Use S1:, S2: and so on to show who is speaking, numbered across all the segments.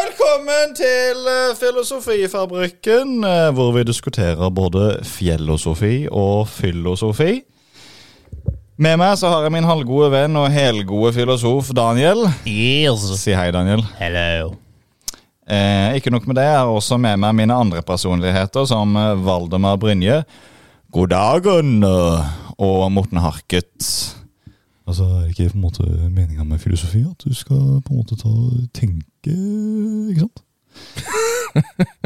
S1: Velkommen til eh, Filosofifabrikken, eh, hvor vi diskuterer både fjellosofi og filosofi. Med meg så har jeg min halvgode venn og helgode filosof Daniel.
S2: Yes.
S1: Si hei, Daniel.
S2: Hello.
S1: Eh, ikke nok med det, jeg har også med meg mine andre personligheter, som eh, Valdemar Brynje. God dagen! Og Morten Harket.
S3: Altså, er det ikke på en måte meninga med filosofi at du skal på en måte ta tenke, ikke sant?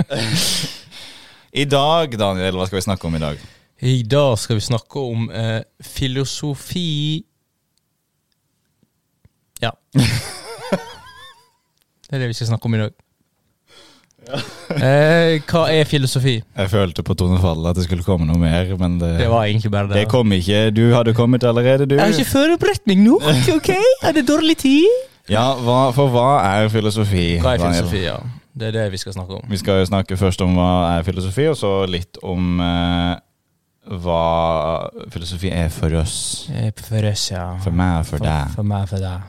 S1: I dag, Daniel, hva skal vi snakke om i dag?
S2: I dag skal vi snakke om eh, filosofi Ja. Det er det vi skal snakke om i dag. eh, hva er filosofi?
S1: Jeg følte på Tone Falle at det skulle komme noe mer, men det,
S2: Det var egentlig bare det.
S1: det kom ikke. Du hadde kommet allerede, du.
S2: Jeg har ikke forberedt meg nok, ok? Er det dårlig tid?
S1: Ja, hva, For hva er filosofi?
S2: Hva er
S1: Daniel?
S2: filosofi, ja. Det er det vi skal snakke om.
S1: Vi skal jo snakke først om hva er filosofi, og så litt om eh, hva filosofi er for oss.
S2: Eh, For oss, ja.
S1: For meg og for deg.
S2: For meg, for deg.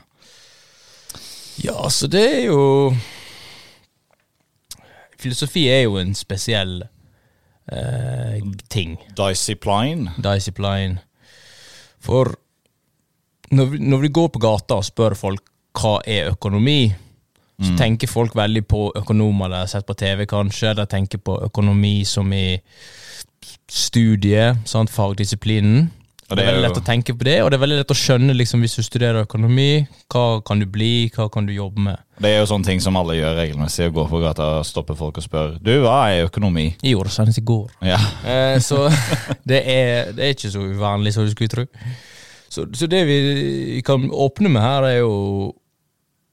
S2: Ja, så det er jo Filosofi er jo en spesiell eh, ting.
S1: Discipline.
S2: Discipline. For når vi, når vi går på gata og spør folk hva er økonomi, så tenker folk veldig på økonomer de har sett på TV, kanskje. De tenker på økonomi som i studiet, sant? fagdisiplinen.
S1: Og det
S2: det, er veldig
S1: er jo-
S2: lett å tenke på det, og det er veldig lett å skjønne liksom, hvis du studerer økonomi. Hva kan du bli, hva kan du jobbe med?
S1: Det er jo sånne ting som alle gjør regelmessig. Å gå på gata og stoppe folk og spørre Du, hva er økonomi?
S2: Jeg gjorde det senest i går.
S1: Ja.
S2: Eh, så det er, det er ikke så uvanlig som du skulle tro. Så, så det vi kan åpne med her, er jo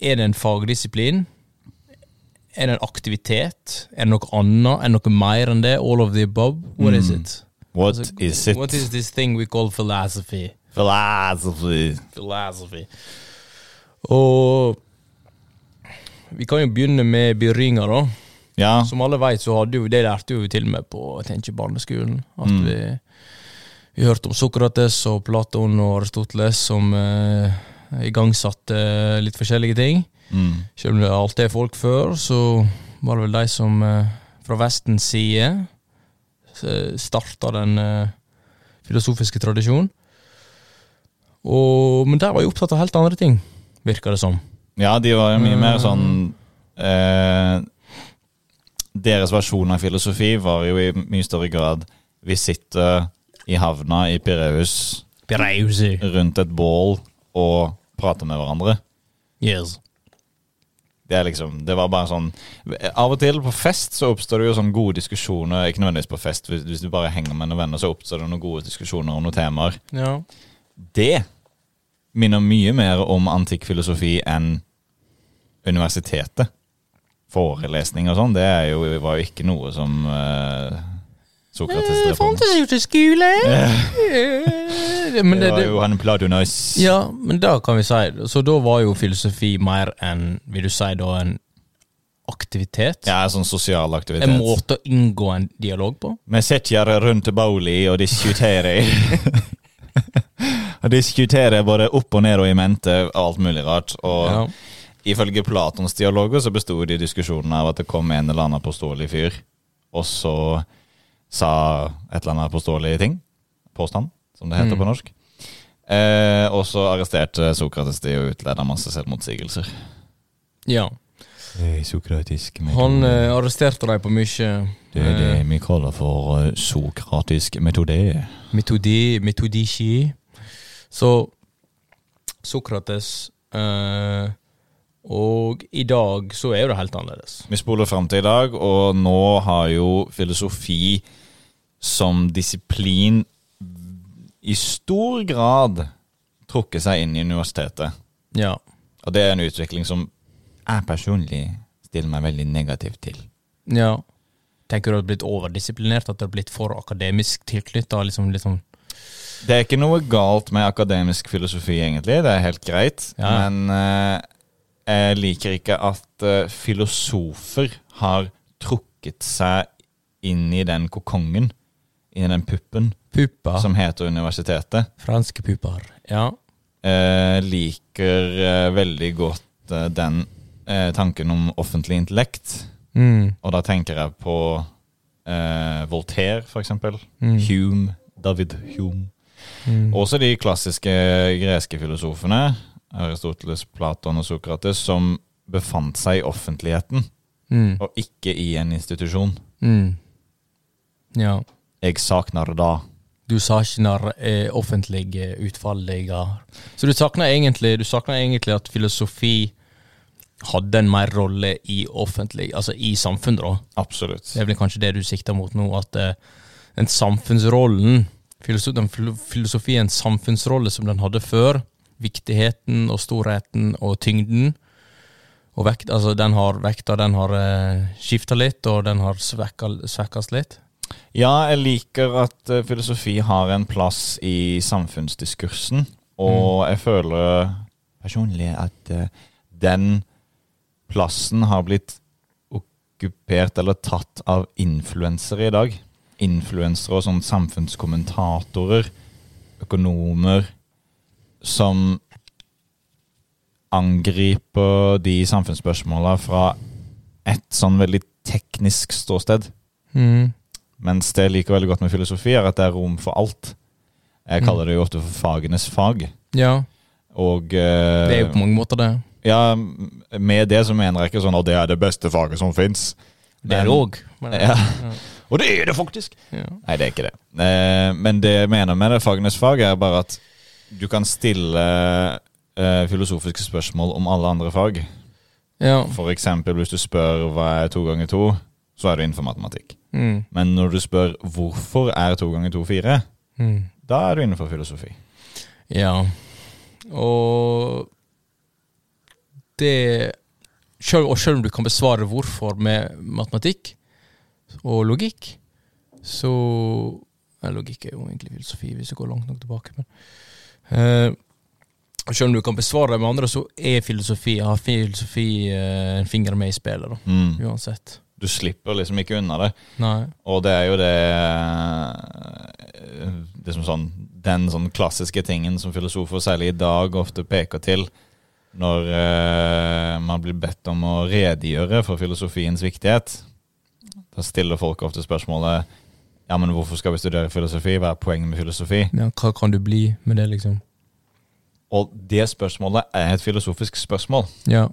S2: Er det en fagdisiplin? Er det en aktivitet? Er det noe annet? Er det noe mer enn det? All of the above? What is it?
S1: Mm. What
S2: Altså,
S1: is it?
S2: What is this thing we call philosophy?
S1: Philosophy.
S2: Philosophy. Og vi kan jo begynne med byringa, da.
S1: Ja.
S2: Som alle vet, så hadde jo, det lærte jo vi til og med på jeg tenker, barneskolen. At vi, vi hørte om Sokrates og Platon og Aristoteles som eh, igangsatte litt forskjellige ting.
S1: Mm.
S2: Selv om det alltid er folk før, så var det vel de som eh, fra Vestens side eh, starta den eh, filosofiske tradisjonen. Og, men der var jeg opptatt av helt andre ting, virker det som.
S1: ja, de var jo mye mer sånn eh, Deres versjon av filosofi var jo i mye større grad Vi sitter i havna i Pireus
S2: Brausi.
S1: rundt et bål og prater med hverandre.
S2: Yes.
S1: Det er liksom, det var bare sånn Av og til på fest så oppstår det jo sånn gode diskusjoner. Ikke nødvendigvis på fest, hvis, hvis du bare henger med noen venner, så oppstår det noen gode diskusjoner om noen temaer.
S2: Ja.
S1: Det minner mye mer om antikk filosofi enn universitetet. Forelesning og sånn, det er jo, var jo ikke noe som eh,
S2: Eh,
S1: Sokrates drev på med.
S2: fantes jo til skole. Men
S1: Det
S2: det,
S1: var Eh. jo
S2: det,
S1: han Platonus.
S2: ja, men da kan vi si det. Så da var jo filosofi mer enn, vil du si da, en aktivitet?
S1: Ja, sånn sosial aktivitet.
S2: En måte å inngå en dialog på?
S1: Vi sitter rundt bowlet og diskuterer. og diskuterer både opp og ned og i mente og alt mulig rart. Og
S2: Ja.
S1: ifølge Platons dialoger så besto de diskusjonene av at det kom en eller annen påståelig fyr, og så sa et eller annet påståelig ting. Påstand, som det heter
S2: Mm.
S1: på norsk. Eh, og så arresterte Sokrates de og utleda masse selvmotsigelser.
S2: ja.
S3: Hey, sokratisk
S2: Han eh, arresterte dem på mye eh,
S1: vi kaller for eh, sokratisk metode.
S2: metodi, metodiski. Så Sokrates eh, Og i dag så er jo det helt annerledes.
S1: Vi spoler fram til i dag, og nå har jo filosofi som disiplin i stor grad trukket seg inn i universitetet.
S2: Ja.
S1: Og det er en utvikling som jeg personlig stiller meg veldig negativt til.
S2: Ja. Tenker du at det har blitt overdisiplinert? At det har blitt for akademisk tilknytta? Liksom, litt sånn-
S1: Det er ikke noe galt med akademisk filosofi, egentlig. Det er helt greit.
S2: Ja.
S1: Men eh, jeg liker ikke at eh, filosofer har trukket seg inn i den kokongen, inn i den puppen.
S2: Pupa.
S1: som heter universitetet,
S2: Franske puper. Ja.
S1: eh, liker eh, veldig godt eh, den eh, tanken om offentlig intellekt.
S2: Mm.
S1: Og da tenker jeg på eh, Voltaire, for eksempel.
S2: Mm.
S1: Hume. David Hume.
S2: Mm.
S1: Også de klassiske greske filosofene, Aristoteles, Platon og Sokrates, som befant seg i offentligheten,
S2: Mm.
S1: og ikke i en institusjon.
S2: Mm. Ja.
S1: Jeg saknar da.
S2: Du saknar eh, offentlige utfalliger. Så du saknar, egentlig, du saknar egentlig at filosofi hadde en mer rolle i offentlig, altså i samfunnet, da.
S1: Absolutt.
S2: Det er vel kanskje det du sikter mot nå, at eh, den samfunnsrollen, filoso- den filo- filosofiens samfunnsrolle som den hadde før, viktigheten og storheten og tyngden, og vekt, altså den har vekta, den har eh, skifta litt, og den har svekkast litt.
S1: Ja, jeg liker at eh, filosofi har en plass i samfunnsdiskursen, og jeg føler personlig at eh, den plassen har blitt okkupert eller tatt av influensere i dag. Influensere og sånn samfunnskommentatorer, økonomer, som angriper de samfunnsspørsmåla fra et sånn veldig teknisk ståsted.
S2: Mm.
S1: Mens det jeg liker veldig godt med filosofi, er at det er rom for alt.
S2: Mm.
S1: Jeg kaller det jo ofte for fagenes fag.
S2: Ja,
S1: Og eh,
S2: det er jo på mange måter det.
S1: ja, med det så mener jeg ikke sånn at det er det beste faget som fins.
S2: Det er det òg.
S1: Ja. Og det er det faktisk!
S2: Ja.
S1: Nei, det er ikke det. Eh, men det jeg mener med det fagenes fag, er bare at du kan stille eh, filosofiske spørsmål om alle andre fag.
S2: Ja.
S1: For eksempel hvis du spør hva er to ganger to, så er du innenfor matematikk.
S2: Mm.
S1: Men når du spør hvorfor er to ganger to fire,
S2: Mm.
S1: Da er du innenfor filosofi.
S2: Ja. Og det selv, Og selv om du kan besvare hvorfor med matematikk og logikk, så Nei, logikk er jo egentlig filosofi, hvis du går langt nok tilbake. Men, eh, og selv om du kan besvare det med andre, så er filosofi, har filosofi eh, en finger med i spillet. da, Uansett.
S1: Du slipper liksom ikke unna det.
S2: Nei.
S1: Og det er jo det eh, liksom sånn, Den sånn klassiske tingen som filosofer, særlig i dag, ofte peker til når eh, man blir bedt om å redegjøre for filosofiens viktighet. Da stiller folk ofte spørsmålet Ja, men hvorfor skal vi studere filosofi? Hva er poenget med filosofi?
S2: Ja, hva kan du bli med det, liksom?
S1: Og det spørsmålet er et filosofisk spørsmål.
S2: Ja.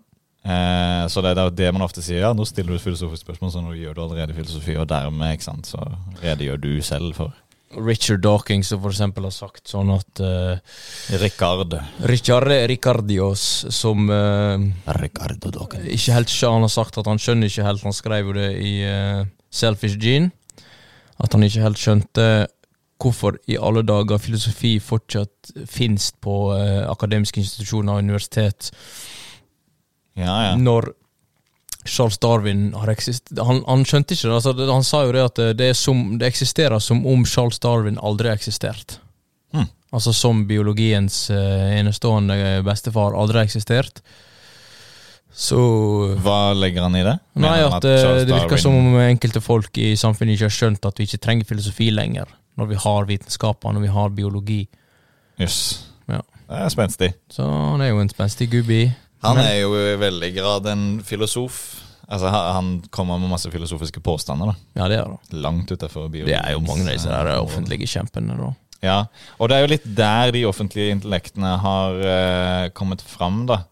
S1: Eh, så det er jo det man ofte sier. Ja, nå stiller du et filosofisk spørsmål, så nå gjør du allerede filosofi, og dermed ikke sant, så redegjør du selv for
S2: Richard Dawkins som for eksempel har sagt sånn at eh,
S1: Ricard.
S2: Richard Ricardios, som eh,
S1: Ricardo Dawkins.
S2: ikke helt skjø- Han har sagt at han skjønner ikke helt Han skrev jo det i eh, Selfish Gene. At han ikke helt skjønte hvorfor i alle dager filosofi fortsatt finnes på eh, akademiske institusjoner og universitet,
S1: Ja, ja.
S2: når Charles Darwin har eksistert han, han skjønte ikke det. Altså, det- han sa jo det at eh, det, er som, det eksisterer som om Charles Darwin aldri har eksistert.
S1: Hm.
S2: Altså som biologiens eh, enestående bestefar aldri har eksistert. Så
S1: Hva legger han i det?
S2: Nei,
S1: Mener han
S2: at eh,
S1: Charles
S2: det virker
S1: Darwin-
S2: som om enkelte folk i samfunnet ikke har skjønt at vi ikke trenger filosofi lenger, når vi har vitenskapene, når vi har biologi.
S1: Jøss.
S2: Ja.
S1: Det er spenstig.
S2: Så han er jo en spenstig gubbi.
S1: Han
S2: Men-
S1: er jo i veldig grad en filosof. Altså, ha- Han kommer med masse filosofiske påstander, da.
S2: Ja, det er det.
S1: Langt eh, utafor biologien.
S2: Det er jo mange av disse der offentlige kjempene, da.
S1: Ja, og det er jo litt der de offentlige intellektene har eh, kommet fram, da.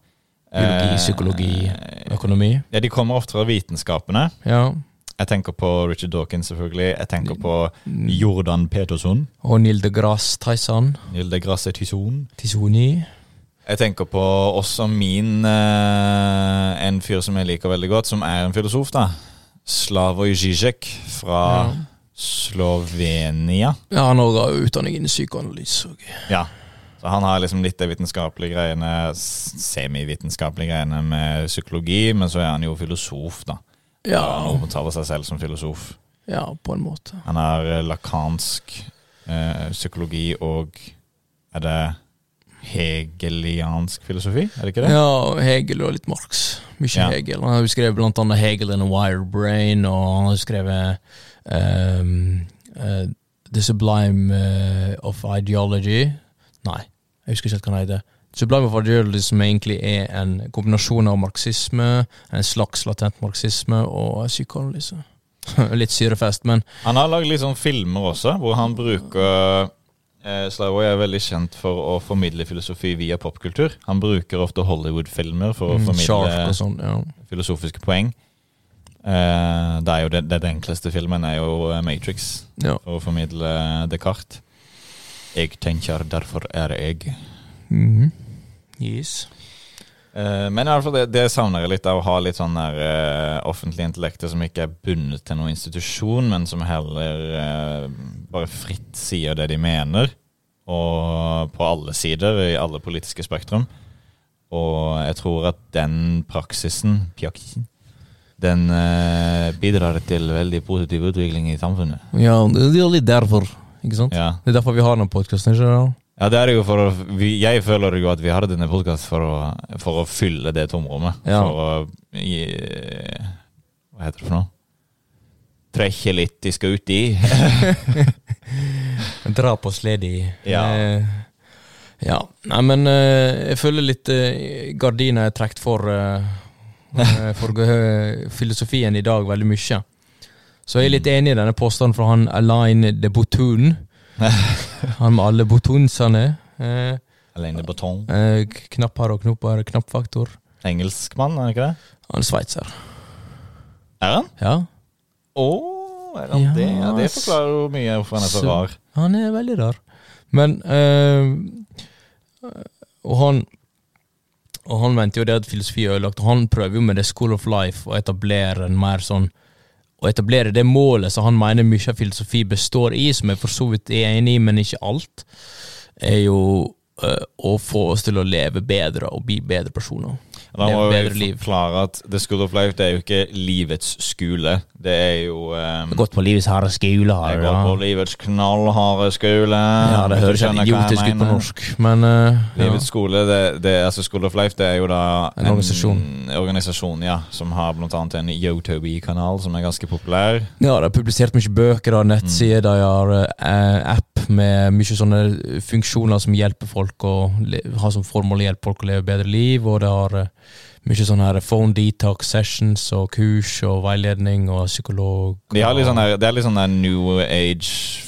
S2: Biologi,
S1: Eh,
S2: psykologi, Økonomi.
S1: Ja, de kommer ofte fra vitenskapene.
S2: Ja.
S1: Jeg tenker på Richard Dawkins, selvfølgelig. Jeg tenker på Jordan Peterson.
S2: Mm. Og Neil deGrasse Tyson.
S1: Neil deGrasse Tyson.
S2: Tisoni.
S1: Jeg tenker på også min eh, En fyr som jeg liker veldig godt, som er en filosof, da. Slavoj Žižek fra
S2: Ja.
S1: Slovenia.
S2: Ja, han òg har utdanning innen psykoanalyse. og-
S1: Ja. Så han har liksom litt de vitenskapelige greiene, s- semivitenskapelige greiene med psykologi, men så er han jo filosof, da. Han
S2: Ja,
S1: omtaler seg selv som filosof.
S2: ja, på en måte.
S1: Han har eh, lakansk eh, psykologi og Er det hegeliansk filosofi? Er det ikke det?
S2: Ja, Hegel og litt Marx. Mye
S1: Ja.
S2: Hegel. Han har jo skrevet blant annet Hegel and a Wire Brain, og han har jo skrevet ehm, eh, The Sublime eh, of Ideology. Nei, jeg husker ikke helt hva han heter. Sublime of Ideology, som egentlig er en kombinasjon av marxisme, en slags latent marxisme og psykoanalyse. Litt syrefest, men
S1: Han har lagd litt sånn filmer også, hvor han bruker eh, Slavoj er veldig kjent for å formidle filosofi via popkultur. Han bruker ofte Hollywood-filmer for å
S2: mm, Shark
S1: formidle
S2: og sånn. Ja.
S1: filosofiske poeng. Eh, det er jo den, den enkleste filmen er jo eh, Matrix,
S2: Ja.
S1: for å formidle eh, Descartes. Jeg tenker, derfor er jeg.
S2: Mhm. Yes.
S1: Eh, men i alle fall det, det savner jeg litt av å ha litt sånn der eh, offentlig intellekter som ikke er bundet til noen institusjon, men som heller eh, bare fritt sier det de mener. Og på alle sider, i alle politiske spektrum. Og jeg tror at den praksisen, pjakken, den eh, bidrar til veldig positiv utvikling i samfunnet.
S2: ja, det er jo litt derfor, ikke sant?
S1: Ja.
S2: Det er derfor vi har denne podkasten, ikke sant?
S1: ja, det er jo for å vi, Jeg føler jo at vi har denne podkasten for, å- for å fylle det tomrommet.
S2: Ja.
S1: For å gi Hva heter det for noe? Trekke litt de skal ut i.
S2: Dra på sledig.
S1: Ja.
S2: Eh, ja. Nei, men eh, jeg føler litt eh, gardina er trukket for, eh, eh, for eh, filosofien i dag veldig mye. Så jeg er litt enig i denne påstanden fra han Alain de Botun. Han med alle botunsene. Eh,
S1: Alene Batong.
S2: eh, knapp her og knopp her, knappfaktor.
S1: Engelskmann, er det ikke det?
S2: Han er sveitser.
S1: Er han?
S2: Ja.
S1: Å, er han
S2: Ja,
S1: det? Ja, det
S2: ass.
S1: forklarer jo mye hvorfor han er så
S2: Så-
S1: rar.
S2: Han er veldig rar. Men eh, Og han Og han mente jo det at filosofi er ødelagt, og han prøver jo med The School of Life å etablere en mer sånn å etablere det målet som han mener mye av filosofi består i, som jeg for så vidt er enig i, men ikke alt, er jo eh, å få oss til å leve bedre og bli bedre personer.
S1: Da må
S2: Leve
S1: vi
S2: bedre liv.
S1: forklare at The School of Life det er jo ikke livets skole. Det er jo um,
S2: Gått på livets harde skole.
S1: Jeg går på livets knallharde skole.
S2: Ja, det
S1: hvis du
S2: høres
S1: skjønner hva jeg
S2: helt idiotisk ut på
S1: mener.
S2: norsk, men eh, ja.
S1: Livets skole, det, det, altså School of Life, det er jo da
S2: En organisasjon.
S1: en organisasjon, ja, som har blant annet en Yotobi-kanal som er ganske populær.
S2: Ja, de har publisert mye bøker, de har nettsider, de har eh, app med mye sånne funksjoner som hjelper folk å le- har som formål å hjelpe folk å leve bedre liv, og de har eh, mye sånne her phone detox sessions og kurs og veiledning og psykolog.
S1: De har litt sånn
S2: og-
S1: der, det er litt sånn der new age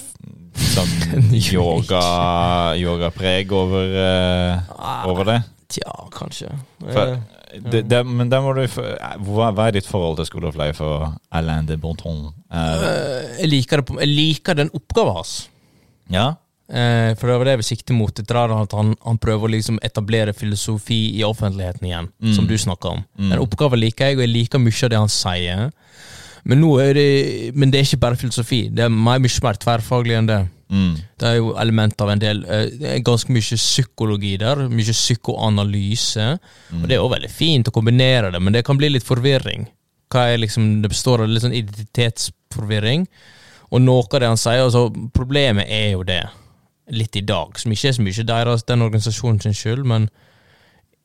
S1: sånn
S2: New
S1: yoga, yogapreg over, eh,
S2: Ah,
S1: over det.
S2: Tja, kanskje.
S1: For-
S2: Eh,
S1: det, det. Men der må du få- hva, hva er ditt forhold til School of Life og Alain de Bonton? Eh,
S2: eh, jeg, liker det på, jeg liker den oppgaven hans.
S1: ja?
S2: Eh, for det var det jeg siktet mot. Det er at han, han prøver å liksom etablere filosofi i offentligheten igjen,
S1: Mm.
S2: som du snakka om.
S1: Mm.
S2: Den oppgaven liker jeg, og jeg liker mye av det han sier. Men, nå er det, men det er ikke bare filosofi. Det er mye, mye mer tverrfaglig enn det.
S1: Mm.
S2: Det er jo element av en del eh, Det er ganske mye psykologi der. Mye psykoanalyse. Og det er jo veldig fint å kombinere det, men det kan bli litt forvirring. Hva er liksom, det består av litt sånn identitetsforvirring. Og noe av det han sier, altså Problemet er jo det, litt i dag, som ikke er så mye deres, den organisasjonen sin skyld, men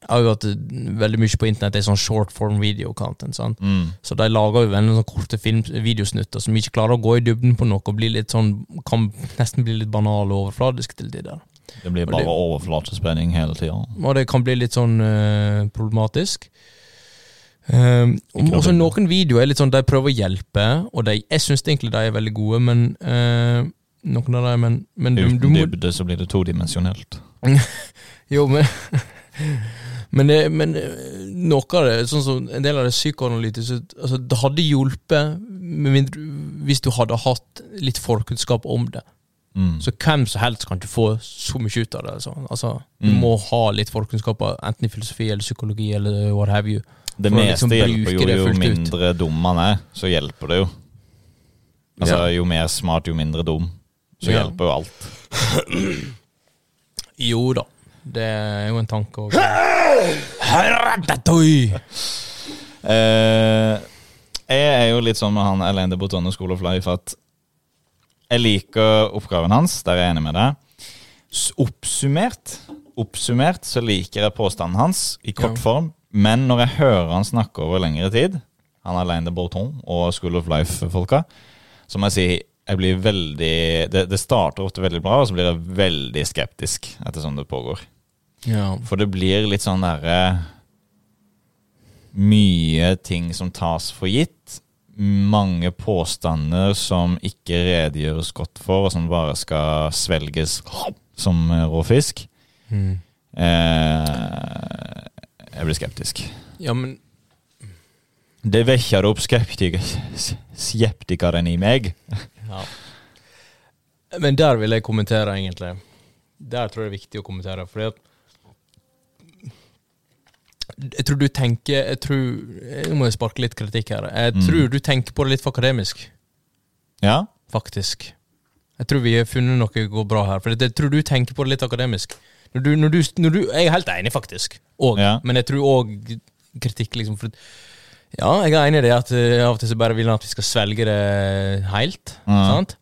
S2: er jo at det- veldig mye på internett er sånn short form video content. sant?
S1: Mm.
S2: Så de lager jo en sånn korte film, videosnutter som ikke klarer å gå i dybden på noe og blir litt sånn, kan nesten bli litt banale og overfladiske til tider.
S1: Det blir
S2: Og
S1: bare
S2: det-
S1: overflatespenning hele tida.
S2: Og det kan bli litt sånn eh, problematisk. Um,
S1: Ikke
S2: også
S1: noe
S2: noen videoer er litt sånn de prøver å hjelpe, og de, jeg syns egentlig de er veldig gode, men eh, Noen av dem, men, men du,
S1: Uten
S2: du må
S1: dybde så blir det todimensjonelt.
S2: Jo, men men, det, men eh, noe av det, sånn som en del av det psykoanalytiske altså, Det hadde hjulpet med mindre, hvis du hadde hatt litt forkunnskap om det.
S1: Mm.
S2: Så hvem som helst kan ikke få så mye ut av det. Altså. Altså, du
S1: Mm.
S2: må ha litt forkunnskaper, enten i filosofi eller psykologi eller what have you.
S1: Det
S2: For å
S1: meste
S2: liksom
S1: hjelper
S2: bruke det
S1: jo, jo
S2: fullt ut.
S1: mindre dum man er, så hjelper det jo. Altså,
S2: Ja.
S1: Jo mer smart, jo mindre dum. Så
S2: Ja.
S1: hjelper jo alt.
S2: Jo da, det er jo en tanke òg. Ja,
S1: Eh, jeg er jo litt sånn med han Alain de Bottonne School of Life at jeg liker oppgaven hans, der er jeg enig med deg. S- Oppsummert, oppsummert så liker jeg påstanden hans i kort
S2: Ja.
S1: form, men når jeg hører han snakke over lengre tid, han Alain de Botton og School of Life-folka, så må jeg si jeg blir veldig, det, det starter ofte veldig bra, og så blir jeg veldig skeptisk etter sånn det pågår.
S2: Ja.
S1: For det blir litt sånn derre Mye ting som tas for gitt. Mange påstander som ikke redegjøres godt for, og som bare skal svelges som rå fisk.
S2: Mm.
S1: Eh, jeg blir skeptisk.
S2: ja, men
S1: Det vekker opp skeptik skeptikeren i meg.
S2: ja. Men der vil jeg kommentere, egentlig. Der tror jeg det er viktig å kommentere, fordi at Jeg tror du tenker Jeg tror Nå må jeg sparke litt kritikk her. Jeg
S1: Mm.
S2: tror du tenker på det litt for akademisk.
S1: Ja,
S2: faktisk. Jeg tror vi har funnet noe som går bra her. For jeg tror du tenker på det litt akademisk. Når du, når du, når du, jeg er helt enig, faktisk. Og,
S1: Ja.
S2: Men jeg tror òg kritikk, liksom. For, ja, jeg er enig i det at eh, av og til så bare vil han at vi skal svelge det helt.
S1: Mm.
S2: Sant?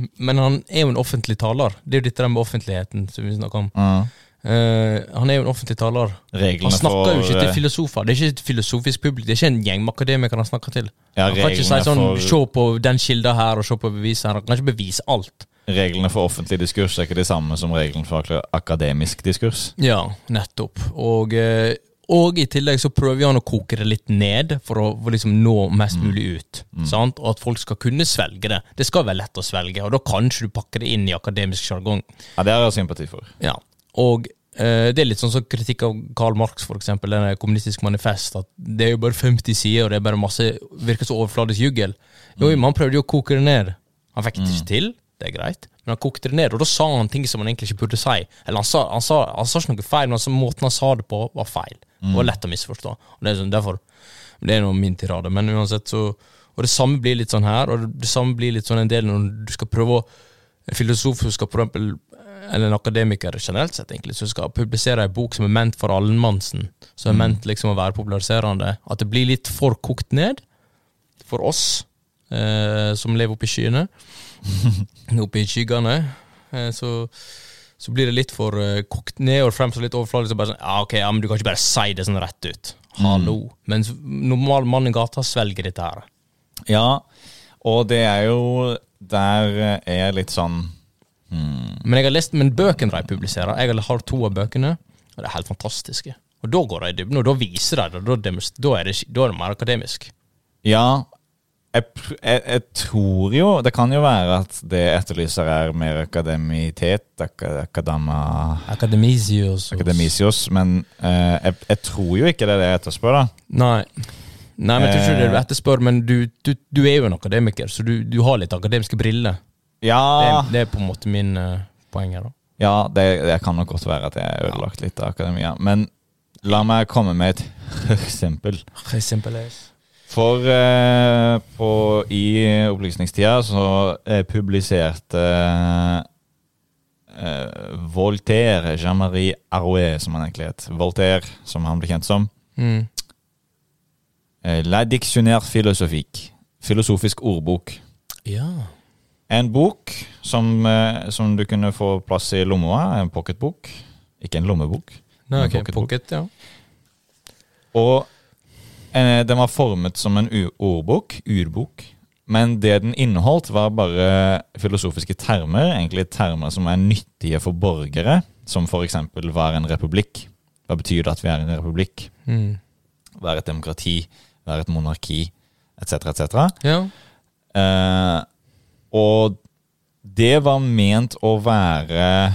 S2: M- Men han er jo en offentlig taler. Det er jo dette der med offentligheten som vi snakker om.
S1: Mm.
S2: Eh, han er jo en offentlig taler.
S1: Reglene
S2: Han snakker
S1: for,
S2: jo ikke til
S1: eh,
S2: filosofer. Det er ikke et filosofisk publikum. Det er ikke en gjeng med akademikere han snakker til.
S1: ja,
S2: Han kan ikke si
S1: reglene,
S2: sånn Se
S1: for,
S2: på den kilda her, og se på beviset her. Han kan ikke bevise alt.
S1: reglene for offentlig diskurs er ikke de samme som reglene for ak- akademisk diskurs.
S2: Ja, nettopp. Og, eh, og i tillegg så prøver han å koke det litt ned, for å for liksom nå mest
S1: Mm.
S2: mulig ut. Sant? Og at folk skal kunne svelge det. Det skal være lett å svelge, og da kan ikke du pakke det inn i akademisk sjargong.
S1: Ja, Det har jeg sympati for.
S2: Ja. Og eh, det er litt sånn som kritikk av Karl Marx, for eksempel, denne kommunistisk manifest, at det er jo bare 50 sider, og det er bare masse virker så overfladisk juggel. Jo, men han prøvde jo å koke det ned. Han fikk det ikke til, det er greit, men han kokte det ned, og da sa han ting som han egentlig ikke burde si. Eller han sa, han sa, han sa ikke noe feil, men altså, måten han sa det på, var feil. Det var lett å misforstå. Og det er sånn, derfor, det er nå min tirade, men uansett så Og det samme blir litt sånn her, og det, det samme blir litt sånn en del når du skal prøve å En filosof som skal for eksempel Eller en akademiker generelt sett, egentlig, som skal publisere ei bok som er ment for allmannsen, som er ment liksom å være populariserende, at det blir litt for kokt ned for oss eh, som lever oppe i skyene, oppe i skyggene, eh, så så blir det litt for eh, kokt ned og fremstår litt overfladisk. og Bare sånn, ja, ok, ja, men du kan ikke bare si det sånn rett ut. Hallo. Men s- normal mann i gata svelger dette her.
S1: Ja, og det er jo Der er jeg litt sånn hmm,
S2: Men jeg har lest men bøkene de publiserer. Jeg har to av bøkene, og det er helt fantastiske. Og da går de i dybden, og da viser de det. og Da, demonst- da, er det ikke- da er det mer akademisk.
S1: Ja, jeg, pr- jeg, jeg tror jo Det kan jo være at det jeg etterlyser er mer akademitet, ak akadama,
S2: Akademisios.
S1: akademisios, men eh, jeg, jeg tror jo ikke det er det jeg etterspør, da.
S2: Nei. Nei, men jeg tror ikke det er det du
S1: Eh.
S2: etterspør, men du, du, du er jo en akademiker, så du, du har litt akademiske briller. Det,
S1: Ja,
S2: er- det er på en måte min eh, poeng her, da.
S1: Ja, det, det kan nok godt være at jeg har ødelagt litt av akademia. Men la meg komme med et eksempel. For eh, på, i opplysningstida så eh, publiserte eh, Voltaire, Jean-Marie Arouet, som han egentlig het, Voltaire, som han ble kjent som,
S2: Mm.
S1: eh, La dictionnaire philosophique, filosofisk ordbok.
S2: Ja.
S1: En bok som, eh, som du kunne få plass i lomma, en pocketbok, ikke en lommebok.
S2: Nei,
S1: Med
S2: ok,
S1: pocketbok.
S2: pocket, ja.
S1: Og eh, den var formet som en u- ordbok, urbok. Men det den inneholdt, var bare filosofiske termer. Egentlig termer som er nyttige for borgere, som f.eks. hva er en republikk? Hva betyr det at vi er en republikk?
S2: Mm.
S1: Hva er et demokrati? Hva er et monarki? Etc., etc.
S2: Ja.
S1: Eh, og det var ment å være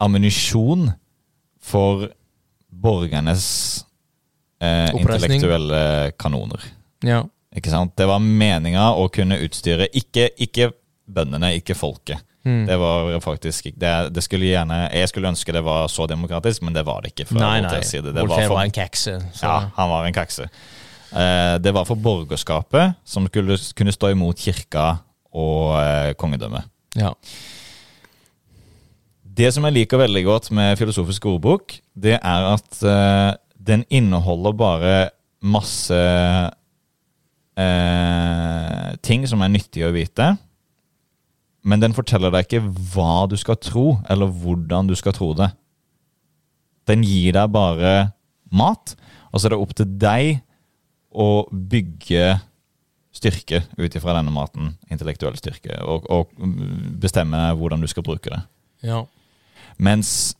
S1: ammunisjon for borgernes eh,
S2: Oppreisning.
S1: intellektuelle kanoner.
S2: ja.
S1: Ikke sant? Det var meninga å kunne utstyre ikke, ikke bøndene, ikke folket.
S2: Mm.
S1: Det var faktisk ikke- det, det skulle gjerne, Jeg skulle ønske det var så demokratisk, men det var det ikke. fra
S2: Nei, nei.
S1: Voltaires side. Det var
S2: Voltaire
S1: for-
S2: var en kekse. Så.
S1: ja, han var en kakse. Eh, det var for borgerskapet, som skulle kunne stå imot kirka og eh, kongedømmet.
S2: Ja.
S1: Det som jeg liker veldig godt med filosofisk ordbok, det er at eh, den inneholder bare masse eh, ting som er nyttig å vite. Men den forteller deg ikke hva du skal tro, eller hvordan du skal tro det. Den gir deg bare mat, og så er det opp til deg å bygge styrke ut ifra denne maten. Intellektuell styrke. Og, og mm, bestemme hvordan du skal bruke det.
S2: ja.
S1: Mens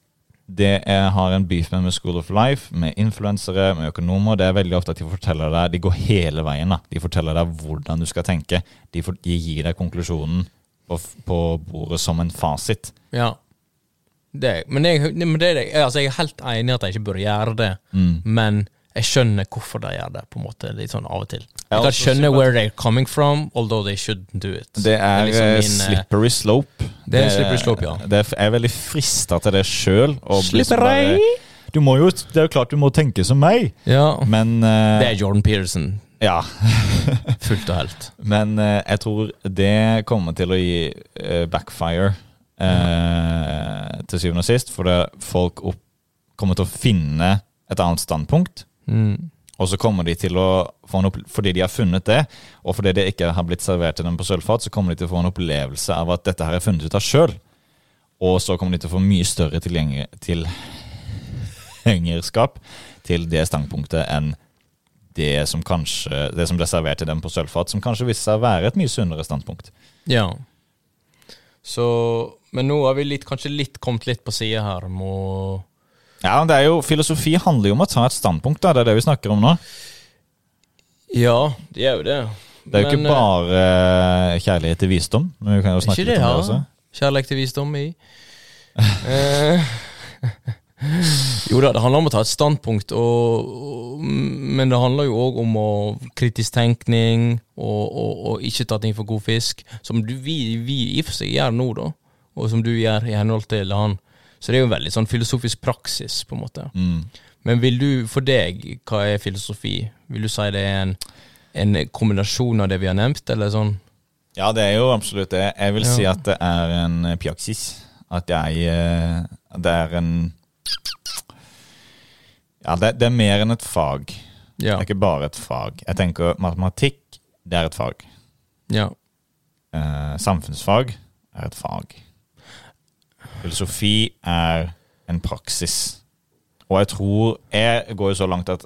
S1: Det er, har en beef med med School of Life, med influensere, med økonomer. Det er veldig ofte at de forteller deg De går hele veien. da De forteller deg hvordan du skal tenke. De, for, de gir deg konklusjonen på, f- på bordet som en fasit.
S2: Ja. Det, er- men jeg, nei, men det er det. Jeg- Altså, jeg er helt enig i at jeg ikke burde gjøre det,
S1: Mm.
S2: men jeg skjønner hvorfor de gjør det, på en måte, litt sånn av og til.
S1: Ja,
S2: Jeg
S1: og
S2: kan
S1: så
S2: skjønne
S1: sympati-
S2: where they're coming from, although they shouldn't do it.
S1: Det er,
S2: liksom
S1: eh,
S2: min, eh,
S1: slippery slope.
S2: det er en slippery slope, ja.
S1: Det er, jeg er veldig frista til det sjøl.
S2: Slippery!
S1: Du må jo, det er jo klart du må tenke som meg,
S2: Ja.
S1: men eh,
S2: Det er Jordan Peterson,
S1: Ja.
S2: fullt og helt.
S1: Men eh, jeg tror det kommer til å gi eh, backfire eh, til syvende og sist. For det, folk opp, kommer til å finne et annet standpunkt.
S2: Mm.
S1: Og så kommer de til å få en opp, Fordi de har funnet det, og fordi det ikke har blitt servert til dem på sølvfat, så kommer de til å få en opplevelse av at dette her er funnet ut av sjøl. Og så kommer de til å få mye større tilgjenge- tilhengerskap til det standpunktet enn det som kanskje Det som ble servert til dem på sølvfat, som kanskje viste seg å være et mye sunnere standpunkt.
S2: Ja. Så Men nå har vi litt, kanskje litt kommet litt på sida her. Må
S1: Ja, men det er jo, Filosofi handler jo om å ta et standpunkt, da. Det er det vi snakker om nå.
S2: Ja, det gjør jo det.
S1: Det er jo
S2: Men,
S1: ikke bare eh, kjærlighet til visdom. Men vi kan jo
S2: eh,
S1: snakke
S2: ikke det,
S1: litt om det
S2: ja.
S1: også.
S2: Kjærlighet til visdom i Eh, Jo da, det handler om å ta et standpunkt, og, og, men det handler jo òg om å, kritisk tenkning og, og, og ikke ta ting for god fisk, som du, vi, vi i og for seg gjør nå, da, og som du gjør i henhold til han. Så det er jo en veldig sånn filosofisk praksis, på en måte.
S1: Mm.
S2: Men vil du, for deg, hva er filosofi? Vil du si det er en, en kombinasjon av det vi har nevnt, eller sånn?
S1: Ja, det er jo absolutt det. Jeg vil
S2: Ja.
S1: si at det er en eh, pjaksis. At jeg eh, Det er en Ja, det, det er mer enn et fag. Det
S2: Ja.
S1: er ikke bare et fag. Jeg tenker matematikk, det er et fag.
S2: ja.
S1: Eh, samfunnsfag er et fag. Filosofi er en praksis. Og jeg tror Jeg går jo så langt at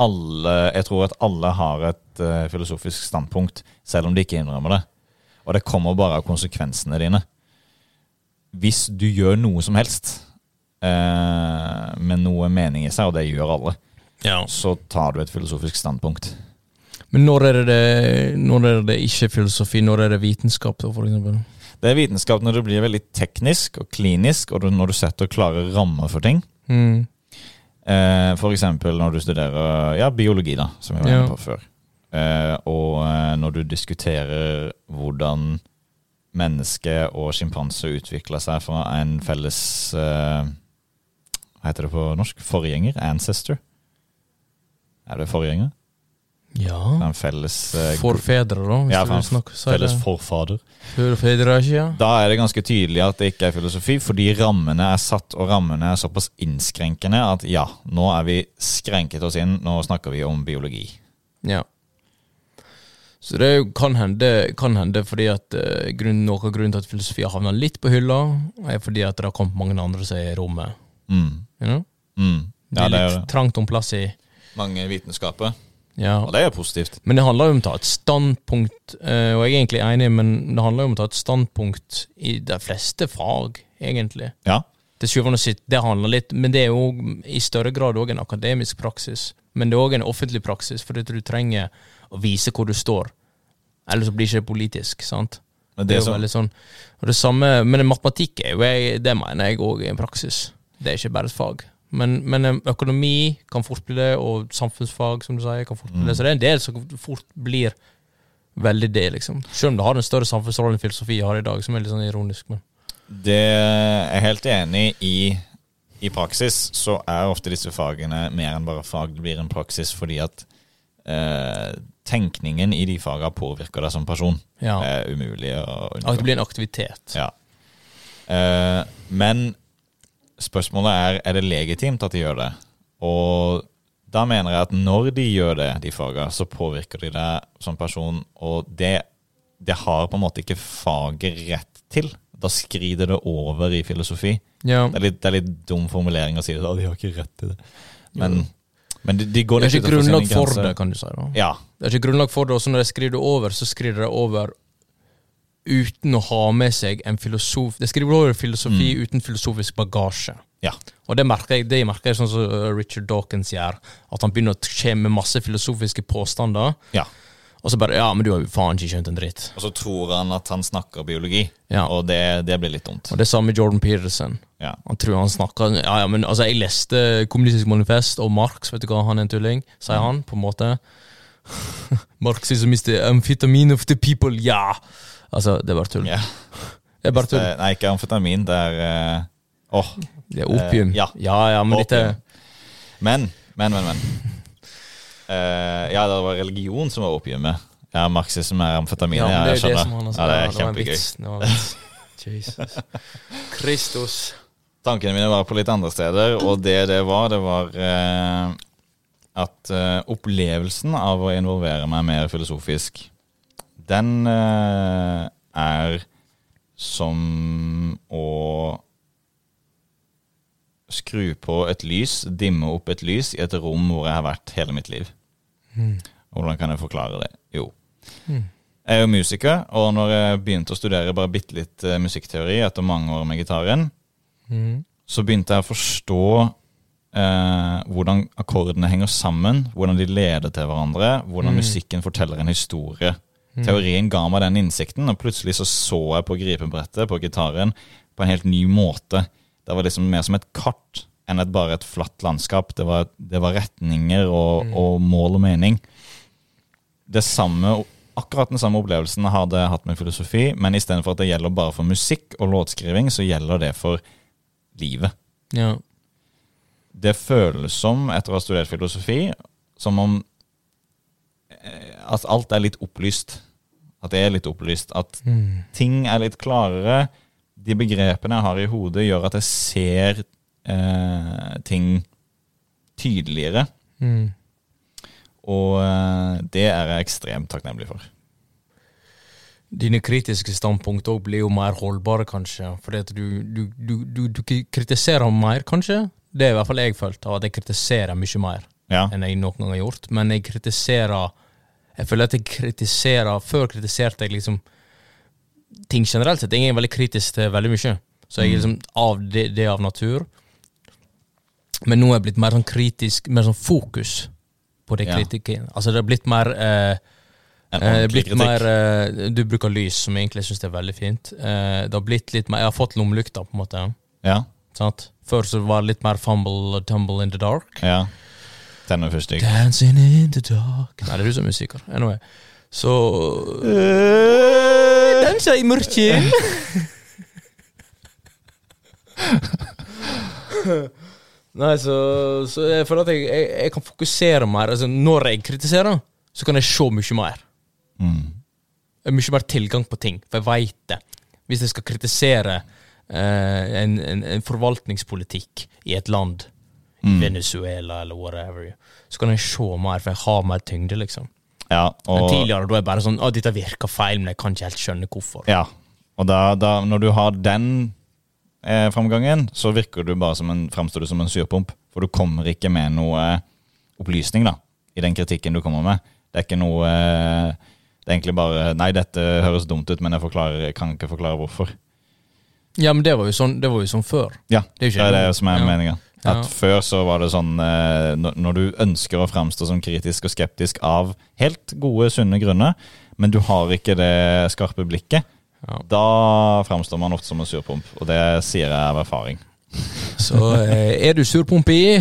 S1: alle Jeg tror at alle har et eh, filosofisk standpunkt, selv om de ikke innrømmer det. Og det kommer bare av konsekvensene dine. Hvis du gjør noe som helst eh, med noe mening i seg, og det gjør alle,
S2: ja.
S1: så tar du et filosofisk standpunkt.
S2: Men når er det, det, når er det ikke filosofi, når er det vitenskap, da, for eksempel?
S1: Det er vitenskap når det blir veldig teknisk og klinisk, og du- når du setter klare rammer for ting.
S2: Mm.
S1: Eh, for eksempel når du studerer ja, biologi, da, som vi var inne
S2: Ja.
S1: på før. Eh, og eh, når du diskuterer hvordan menneske og sjimpanse utvikler seg fra en felles eh, Hva heter det på norsk? Forgjenger? Ancestor? Er det forgjenger?
S2: Ja.
S1: En felles, eh,
S2: Forfedre, da, hvis
S1: Ja,
S2: du vil
S1: for-
S2: snakke si det.
S1: felles forfader?
S2: Forfedre, ikke ja?
S1: Da er det ganske tydelig at det ikke er filosofi, fordi rammene er satt, og rammene er såpass innskrenkende at ja, nå er vi skrenket oss inn, nå snakker vi om biologi.
S2: Ja. Så det er jo- kan hende, kan hende fordi at eh, grunn, noe av grunnen til at filosofi har havna litt på hylla, er fordi at det har kommet mange andre som er i rommet.
S1: Mm.
S2: You know?
S1: Mm.
S2: Det
S1: Ja,
S2: er
S1: det er
S2: litt trangt om plass i
S1: mange vitenskaper,
S2: ja.
S1: og det er positivt.
S2: Men det handler jo om å ta et standpunkt, eh, og jeg er egentlig enig, men det handler jo om å ta et standpunkt i de fleste fag, egentlig.
S1: Ja.
S2: Til syvende og sist, det handler litt, men det er jo i større grad òg en akademisk praksis. Men det er òg en offentlig praksis, fordi at du trenger å vise hvor du står. Ellers så blir ikke det politisk, sant?
S1: Men det
S2: Det er jo
S1: som,
S2: veldig sånn og det samme, Men matematikk er jo jeg, det mener jeg òg er en praksis. Det er ikke bare et fag. Men, men eh, økonomi kan fort bli det, og samfunnsfag som du sier, kan fort bli det. Så det er en del som fort blir veldig det, liksom. Selv om det har en større samfunnsrolle enn filosofi har i dag, som er litt sånn ironisk. Men.
S1: det er jeg helt enig i. I praksis så er ofte disse fagene mer enn bare fag. Det blir en praksis fordi at eh, tenkningen i de fagene påvirker deg som person.
S2: Ja.
S1: Det er umulig å unngå.
S2: At det blir en aktivitet.
S1: Ja. Eh, men spørsmålet er er det legitimt at de gjør det. Og da mener jeg at når de gjør det, de faga, så påvirker de deg som person, og det, det har på en måte ikke faget rett til. Da skrider det over i filosofi.
S2: Ja.
S1: Det er litt, det er litt dum formulering å si det, da. De har ikke rett til det. Men,
S2: Jo.
S1: men de, de går
S2: Det er
S1: litt
S2: ikke
S1: utenfor sine
S2: grunnlag for
S1: grenser.
S2: det, kan du si. da
S1: Ja.
S2: Det er ikke grunnlag for det, og så når de skriver det over, så skriver de det over Mm. uten å ha med seg en filosof De skriver over filosofi uten filosofisk bagasje.
S1: Ja.
S2: Og det merker jeg, det merker jeg sånn som eh, Richard Dawkins gjør. At han begynner å komme med masse filosofiske påstander.
S1: ja.
S2: Og så bare Ja, men du har jo faen ikke skjønt en dritt.
S1: Og så tror han at han snakker biologi,
S2: Ja.
S1: og det, det blir litt dumt.
S2: Og det samme med Jordan Peterson.
S1: Ja.
S2: Han tror han snakker Ja, ja, men altså, jeg leste Kommunistisk manifest og Marx, vet du hva, han er en tulling, sier han, på en måte. Marx is a mister amphetamine of the people, ja! Altså, det er bare tull.
S1: Ja.
S2: Det er bare
S1: Det,
S2: tull.
S1: nei, ikke amfetamin. Det er eh, Åh.
S2: Det er opium.
S1: Eh, ja.
S2: ja, ja, men dette
S1: Opium. Men, men, men. men. Eh, ja, det var religion som var opiumet. Ja, marxisme er amfetamin.
S2: Ja,
S1: Ja,
S2: men
S1: jeg
S2: det er jo det
S1: skjønner.
S2: som han har
S1: ja, det er
S2: sagt. var en
S1: kjempegøy.
S2: vits, det var en vits. Jesus. Kristus.
S1: Tankene mine var på litt andre steder, og det det var, det var eh, at eh, opplevelsen av å involvere meg mer filosofisk, den eh, er som å skru på et lys, dimme opp et lys i et rom hvor jeg har vært hele mitt liv.
S2: Mm.
S1: Hvordan kan jeg forklare det? Jo. Jeg er jo musiker, og når jeg begynte å studere bare bitte litt eh, musikkteori etter mange år med gitaren,
S2: Mm.
S1: så begynte jeg å forstå eh, hvordan akkordene henger sammen, hvordan de leder til hverandre, hvordan musikken forteller en historie.
S2: Mm.
S1: Teorien ga meg den innsikten, og plutselig så, så jeg på gripebrettet, på gitaren, på en helt ny måte. Det var liksom mer som et kart enn et, bare et flatt landskap. Det var, det var retninger og, og mål og mening. Det samme, akkurat den samme opplevelsen hadde jeg hatt med filosofi, men istedenfor at det gjelder bare for musikk og låtskriving, så gjelder det for livet.
S2: Ja.
S1: Det føles som, etter å ha studert filosofi, som om eh, at alt er litt opplyst. At det er litt opplyst. At
S2: Mm.
S1: ting er litt klarere. De begrepene jeg har i hodet, gjør at jeg ser eh, ting tydeligere.
S2: Mm.
S1: Og eh, det er jeg ekstremt takknemlig for.
S2: Dine kritiske standpunkt òg blir jo mer holdbare, kanskje. Fordi at du, du, du, du, du k- kritiserer mer, kanskje. Det er i hvert fall jeg følt, at jeg kritiserer mye mer
S1: Ja.
S2: enn jeg noen gang har gjort. Men jeg kritiserer Jeg føler at jeg kritiserer Før kritiserte jeg liksom ting generelt sett. Jeg er veldig kritisk til veldig mye. Så jeg er liksom av det, det av natur. Men nå er jeg blitt mer sånn kritisk, mer sånn fokus på det
S1: Ja.
S2: kritikken. Altså det har blitt mer eh,
S1: En
S2: Eh,
S1: ordentlig
S2: blitt
S1: kritikk.
S2: mer, eh, du bruker lys, som jeg egentlig syns er veldig fint. Eh, det har blitt litt mer, Jeg har fått lommelykta, på en måte.
S1: Ja.
S2: Sant? Før så var det litt mer fumble og tumble in the dark.
S1: ja. Tenner først, ikke?
S2: Dancing in the dark Nei, det er du som er musiker. Anyway. Så Dansa i mørket! Nei, så, så jeg føler at jeg, jeg, jeg kan fokusere mer. Altså, når jeg kritiserer, så kan jeg se mye mer.
S1: Mm.
S2: Jeg har mye mer tilgang på ting, for jeg veit det. Hvis jeg skal kritisere eh, en, en, en forvaltningspolitikk i et land,
S1: Mm.
S2: i Venezuela eller whatever, så kan jeg se mer, for jeg har mer tyngde, liksom.
S1: Ja,
S2: Men
S1: og
S2: tidligere da er jeg bare sånn Å, dette virker feil, men jeg kan ikke helt skjønne hvorfor.
S1: Ja, og da, da, når du har den eh, framgangen, så virker du bare som en, fremstår du som en surpomp. For du kommer ikke med noe eh, opplysning da, i den kritikken du kommer med. Det er ikke noe eh, Det er egentlig bare Nei, dette høres dumt ut, men jeg forklarer, jeg kan ikke forklare hvorfor.
S2: Ja, men det var jo sånn, det var jo sånn før.
S1: Ja,
S2: Det er
S1: det
S2: jo
S1: er
S2: ikke-
S1: det som er
S2: ja.
S1: meninga. At
S2: Ja.
S1: Før så var det sånn eh, når- Når du ønsker å fremstå som kritisk og skeptisk av helt gode, sunne grunner, men du har ikke det skarpe blikket,
S2: Ja.
S1: da fremstår man ofte som en surpomp. Og det sier jeg av erfaring.
S2: Så eh, er du surpompi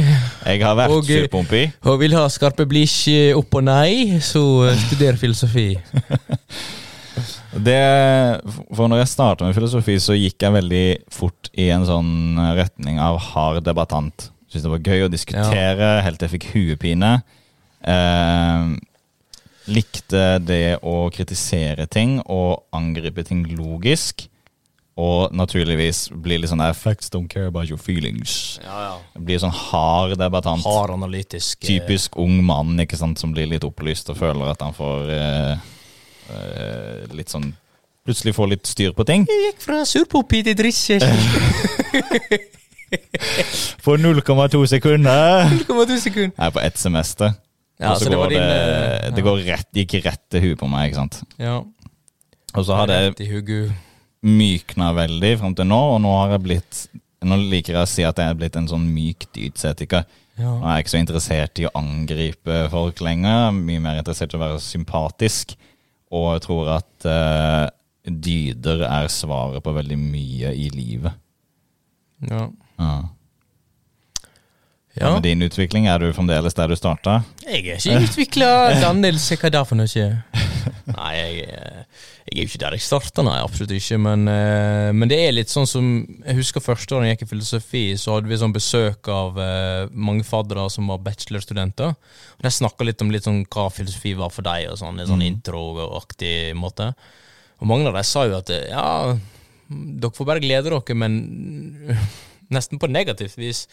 S1: Jeg har vært
S2: Og, eh,
S1: surpomp i.
S2: og vil ha skarpe blikk eh, opp og nei, så eh, studer filosofi.
S1: Det, for når jeg starta med filosofi, så gikk jeg veldig fort i en sånn retning av hard debattant. Syns det var gøy å diskutere, helt til jeg fikk huepine. Eh, likte det å kritisere ting og angripe ting logisk. Og naturligvis blir litt sånn der Facts don't care about your feelings. Blir sånn hard debattant.
S2: Hard analytisk. eh,
S1: Typisk ung mann ikke sant, som blir litt opplyst og føler at han får eh, eh, litt sånn Plutselig får litt styr på ting.
S2: Jeg gikk fra surpompi til drittsekk.
S1: For 0,2 sekunder!
S2: Det kommer til sekund.
S1: Jeg er på ett semester.
S2: Ja,
S1: og så
S2: så det var
S1: går det,
S2: din, eh,
S1: det
S2: ja.
S1: går rett, gikk rett til huet på meg. ikke sant?
S2: Ja.
S1: Og så har det
S2: Rett i hugu.
S1: mykna veldig fram til nå, og nå har jeg blitt Nå liker jeg å si at jeg er blitt en sånn myk dydsetiker.
S2: Ja.
S1: Nå er jeg ikke så interessert i å angripe folk lenger. Mye mer interessert i å være sympatisk. Og jeg tror at eh, dyder er svaret på veldig mye i livet.
S2: Ja.
S1: Ja.
S2: ja.
S1: Med din utvikling, er du fremdeles der du starta?
S2: Jeg er ikke utvikla Daniel, se hva det er for noe. Nei, jeg, eh, jeg er jo ikke der jeg starta, nei, absolutt ikke. Men, eh, men det er litt sånn som Jeg husker første året jeg gikk i filosofi, så hadde vi sånn besøk av eh, mange faddere som var bachelorstudenter. Og De snakka litt om litt sånn hva filosofi var for deg, og sånn, en sånn introaktig måte. Og mange av dem sa jo at eh, ja, dere får bare glede dere, men nesten på negativt vis.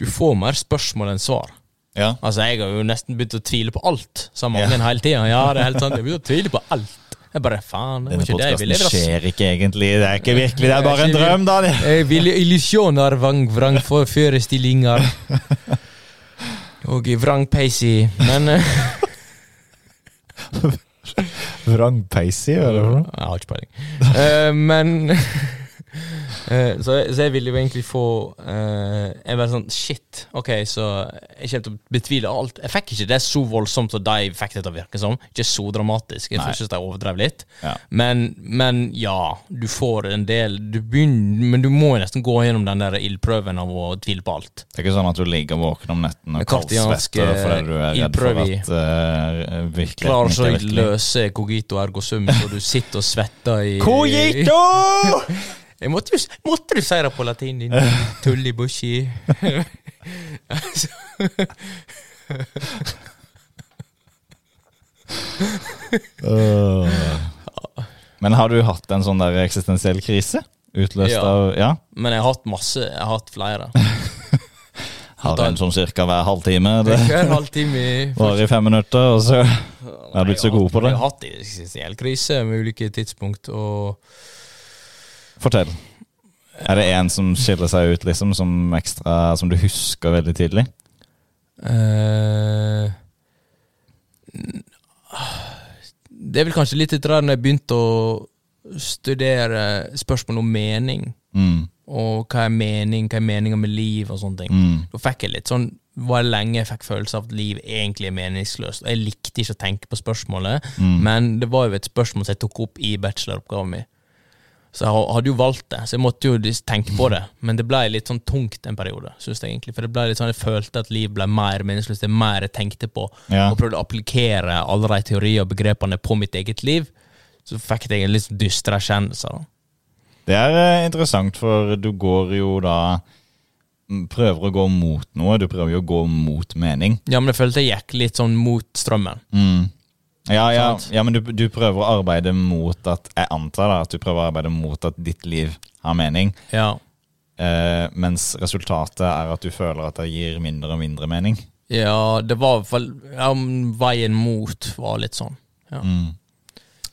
S2: Du får mer spørsmål enn svar.
S1: Ja.
S2: Altså, jeg har jo nesten begynt å tvile på alt, sa
S1: Ja.
S2: mange hele tida. Ja, det er helt sant. Jeg begynte å tvile på alt. Jeg bare faen, det
S1: Denne
S2: var ikke det jeg ville.
S1: podkasten
S2: Jeg ville-
S1: skjer ikke egentlig. Det er ikke virkelig, det er bare en drøm, Daniel.
S2: Jeg ville illusjoner vang vrang for forestillinger. Og i vrangpeisi. Men eh,
S3: Vrang Peisi, hva er det for noe?
S2: Jeg har ikke peiling. Eh, men eh, så, jeg- så jeg ville jo egentlig få eh, Jeg var sånn Shit, ok, så jeg kommer til å betvile alt. Jeg fikk ikke det så voldsomt som de fikk det til å virke som. Ikke så dramatisk. Jeg
S1: Nei.
S2: synes de overdrev litt.
S1: Ja.
S2: Men, men ja, du får en del du begynner, Men du må jo nesten gå gjennom den der ildprøven av å tvile på alt.
S1: Det er ikke sånn at du ligger våken om netten og
S2: Med kartiansk,
S1: kaldsvetter fordi du er redd for
S2: ildprøv eh, i.
S1: at uh,
S2: Klarer
S1: virkeligheten
S2: så
S1: ikke er
S2: å
S1: virkelig.
S2: løse cogito ergo sum, så du sitter og svetter i
S1: Cogito!
S2: Jeg måtte, jo, s- måtte du si det på latin, din tull i bushy?
S1: Men har du hatt en sånn der eksistensiell krise? Utløst
S2: Ja.
S1: av Ja?
S2: Men jeg har hatt masse. Jeg har hatt flere.
S1: Har en sånn cirka hver halvtime. Det
S2: Hver halvtime i
S1: varer i fem minutter, og så er du ikke så god på det.
S2: Jeg har hatt eksistensiell krise med ulike tidspunkt, og
S1: Fortell. Er det en som skiller seg ut, liksom, som ekstra Som du husker veldig tidlig?
S2: eh, n- Det er vel kanskje litt etter da jeg begynte å studere spørsmål om mening,
S1: Mm.
S2: og hva er mening, hva er meninga med liv, og sånne ting.
S1: Mm.
S2: Da fikk jeg litt sånn var det lenge jeg fikk følelse av at liv egentlig er meningsløst. Og jeg likte ikke å tenke på spørsmålet, men det var jo et spørsmål som jeg tok opp i bacheloroppgaven min. Så jeg ha- hadde jo valgt det, så jeg måtte jo dis- tenke på det. Men det ble litt sånn tungt en periode, synes jeg egentlig. For det ble litt sånn, jeg følte at liv ble mer meningsløst, det er mer jeg tenkte på.
S1: Ja.
S2: Og prøvde å applikere alle de teorier og begrepene på mitt eget liv. Så fikk jeg en litt sånn dystre erkjennelse. da.
S1: Det er eh, interessant, for du går jo da mm, Prøver å gå mot noe. Du prøver jo å gå mot mening.
S2: Ja, men jeg følte jeg gikk litt sånn mot strømmen.
S1: Mm. Ja, ja,
S2: Sant.
S1: ja, men du, du prøver å arbeide mot at Jeg antar da at du prøver å arbeide mot at ditt liv har mening,
S2: Ja.
S1: eh, mens resultatet er at du føler at det gir mindre og mindre mening.
S2: Ja, det var i hvert fall ja, men Veien mot var litt sånn. Ja.
S1: Eh,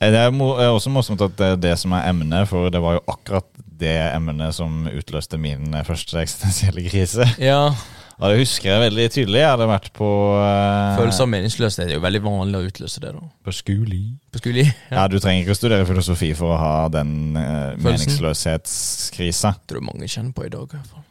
S1: Det er mo eh, også morsomt at det er det som er emnet, for det var jo akkurat det emnet som utløste min eh, første eksistensielle krise.
S2: ja.
S1: Og det husker jeg veldig tydelig. Jeg hadde vært på eh,
S2: Følelse av meningsløshet er jo veldig vanlig å utløse det, da.
S3: På skuli.
S2: På skole.
S1: Ja, Du trenger ikke å studere filosofi for å ha den eh,
S2: Følelsen.
S1: meningsløshetskrisa.
S2: Tror jeg mange kjenner på i dag, i hvert fall.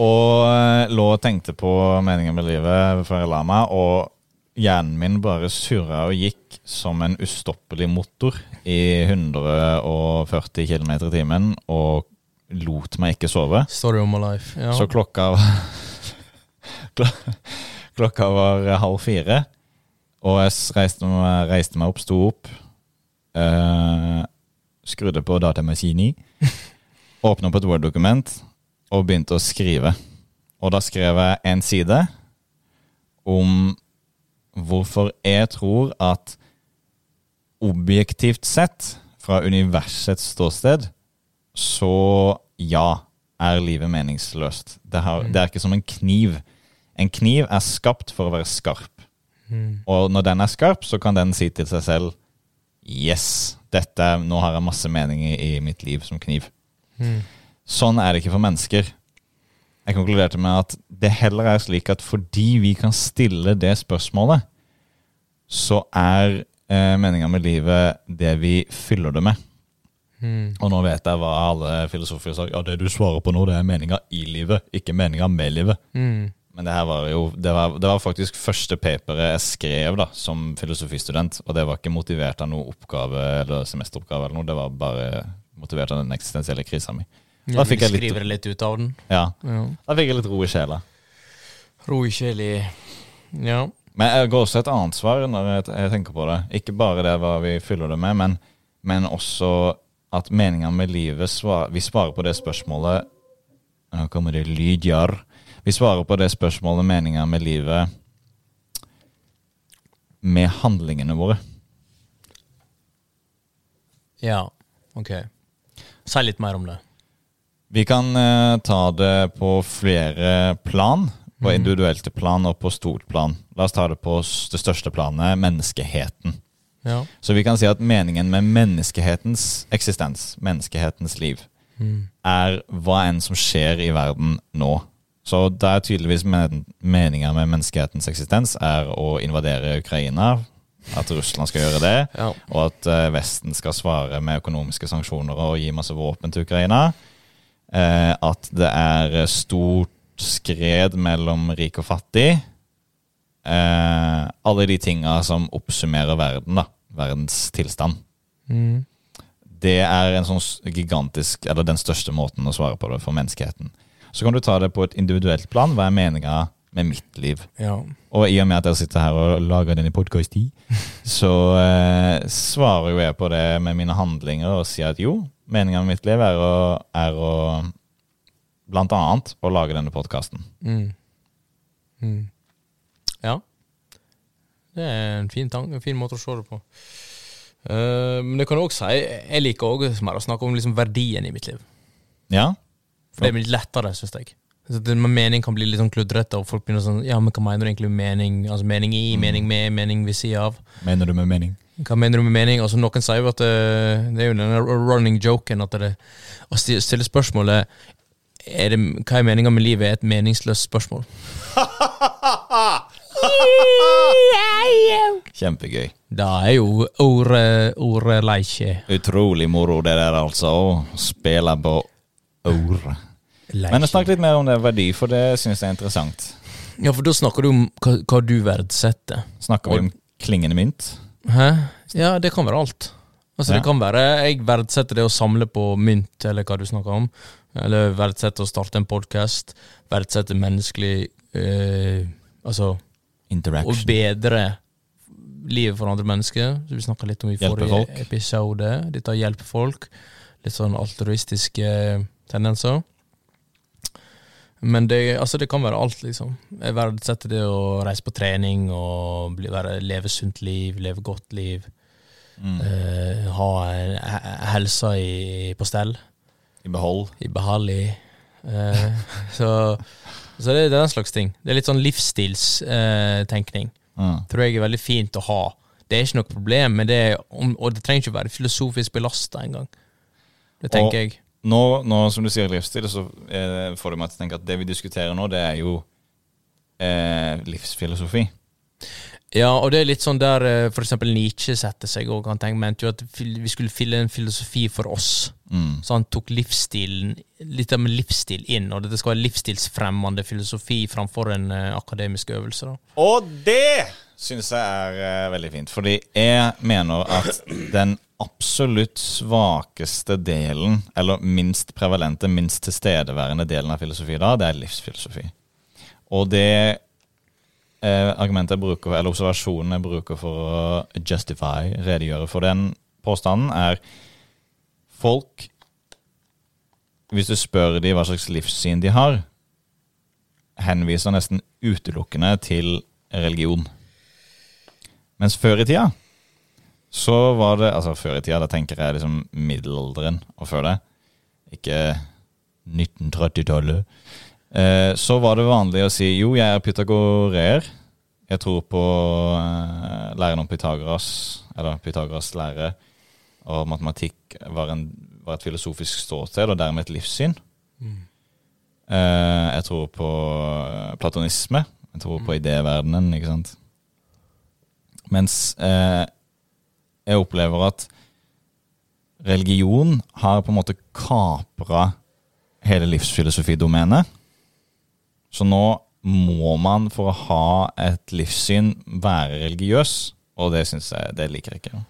S1: Og eh, lå og tenkte på meningen med livet før jeg la meg, og hjernen min bare surra og gikk som en ustoppelig motor i 140 km i timen, og lot meg ikke sove.
S2: Story of my life. Ja.
S1: Så klokka klo- Klokka var halv fire, og jeg s- reiste meg, reiste meg opp, sto opp, eh, skrudde på datamaskinen, åpna opp et Word-dokument og begynte å skrive. Og da skrev jeg en side om hvorfor jeg tror at objektivt sett, fra universets ståsted, så ja, er livet meningsløst. Det, har, det er ikke som en kniv. En kniv er skapt for å være skarp.
S2: Mm.
S1: Og når den er skarp, så kan den si til seg selv Yes, dette, nå har jeg masse mening i, i mitt liv som kniv.
S2: Mm.
S1: Sånn er det ikke for mennesker. Jeg konkluderte med at det heller er slik at fordi vi kan stille det spørsmålet, så er eh, meninga med livet det vi fyller det med.
S2: Mm.
S1: Og nå vet jeg hva alle filosofer sa. Ja, det du svarer på nå, det er meninga i livet, ikke meninga med livet.
S2: Mm.
S1: Men det her var jo Det var, det var faktisk første paperet jeg skrev da som filosofistudent. Og det var ikke motivert av noen oppgave eller semesteroppgave, eller noe det var bare motivert av den eksistensielle krisa mi. Da
S2: Ja,
S1: fikk
S2: du
S1: jeg litt-
S2: skriver litt ut av den.
S1: Ja,
S2: Ja.
S1: Da fikk jeg litt ro i sjela.
S2: Ro i sjel i Ja.
S1: Men jeg går også et annet svar når jeg, jeg tenker på det. Ikke bare det hva vi fyller det med, men, men også at meninga med livet svar, Vi svarer på det spørsmålet Nå kommer det lyd, jarr. Vi svarer på det spørsmålet meninga med livet med handlingene våre.
S2: Ja, ok. Si litt mer om det.
S1: Vi kan eh, ta det på flere plan. På individuelt plan og på stort plan. La oss ta det på s- det største planet, menneskeheten.
S2: Ja.
S1: Så vi kan si at meningen med menneskehetens eksistens, menneskehetens liv,
S2: Mm.
S1: er hva enn som skjer i verden nå. Så det er tydeligvis men meninga med menneskehetens eksistens er å invadere Ukraina, at Russland skal gjøre det,
S2: Ja.
S1: og at eh, Vesten skal svare med økonomiske sanksjoner og gi masse våpen til Ukraina. Eh, at det er stort skred mellom rik og fattig. Eh, alle de tinga som oppsummerer verden, da. Verdens tilstand.
S2: Mm.
S1: Det er en sånn s- gigantisk, eller den største måten å svare på det for menneskeheten. Så kan du ta det på et individuelt plan. Hva er meninga med mitt liv?
S2: ja.
S1: Og i og med at jeg sitter her og lager denne podkasten, så eh, svarer jo jeg på det med mine handlinger og sier at jo, meninga med mitt liv er å, er å Blant annet å lage denne podkasten.
S2: Mm. Mm. Ja. Det er en fin tanke, en fin måte å se det på. Eh, men det kan du også si, jeg liker også mer å snakke om liksom verdien i mitt liv.
S1: Ja?
S2: For det blir litt lettere, syns jeg. Så det med mening kan bli litt sånn kludrete, og folk begynner sånn Ja, men hva mener du egentlig med mening? Altså mening i, mening med, mening ved sida av.
S1: Mener du med mening?
S2: Hva mener du med mening? Altså, noen sier jo at eh, Det er jo den running joken at det Å sti- stille spørsmålet er det, Hva er meninga med livet? er et meningsløst spørsmål.
S1: Kjempegøy.
S2: Det er jo ordet ordet leikje.
S1: Utrolig moro det der, altså. Å spille på ord. Men snakk litt mer om det verdi, for det syns jeg er interessant.
S2: Ja, for da snakker du om hva, hva du verdsetter.
S1: Snakker vi om klingende mynt?
S2: Hæ? Ja, det kan være alt. Altså,
S1: Ja.
S2: det kan være Jeg verdsetter det å samle på mynt, eller hva du snakker om. Eller verdsetter å starte en podkast. Verdsetter menneskelig eh, Altså å
S1: Interaction.
S2: bedre livet for andre mennesker. Så vi snakka litt om i
S1: Hjelpe
S2: forrige
S1: folk.
S2: episode. Dette å hjelpe folk. Litt sånn altruistiske eh, tendenser. Men det, altså det kan være alt, liksom. Jeg verdsetter det å reise på trening og bli, være, leve sunt liv, leve godt liv.
S1: Mm.
S2: Eh, ha en- he- helsa i, på stell
S1: I behold.
S2: i behall i. Eh, så så det, det er den slags ting. Det er litt sånn livsstilstenkning. Eh, tenkning.
S1: Mm.
S2: Tror jeg er veldig fint å ha. Det er ikke noe problem, men det er, om- og det trenger ikke være filosofisk belasta engang. Det tenker jeg.
S1: nå, nå som du sier livsstil, så eh, får det meg til å tenke at det vi diskuterer nå, det er jo eh, livsfilosofi.
S2: Ja, og det er litt sånn der eh, for eksempel Nietzsche setter seg òg. Han tenker, mente jo at fil- vi skulle fylle en filosofi for oss.
S1: Mm.
S2: Så han tok livsstilen, litt av med livsstil inn, og dette skal være livsstilsfremmende filosofi framfor en eh, akademisk øvelse. da.
S1: Og det syns jeg er eh, veldig fint, fordi jeg mener at den absolutt svakeste delen, eller minst prevalente, minst tilstedeværende delen av filosofi da, det er livsfilosofi. Og det eh, argumentet jeg bruker, eller observasjonen jeg bruker for å justify, redegjøre for den påstanden, er folk Hvis du spør dem hva slags livssyn de har, henviser nesten utelukkende til religion. Mens før i tida så var det Altså, før i tida, da tenker jeg liksom middelalderen og før det. Ikke 1930-tallet. Eh, så var det vanlig å si jo, jeg er pythagoreer. Jeg tror på eh, læren om Pythagoras, eller Pythagoras lære. Og matematikk var, en, var et filosofisk ståsted, og dermed et livssyn. Eh, jeg tror på eh, platonisme. Jeg tror på idéverdenen, ikke sant. Mens eh, jeg opplever at religion har på en måte kapra hele livsfilosofidomenet. Så nå må man for å ha et livssyn være religiøs, og det syns jeg det liker jeg ikke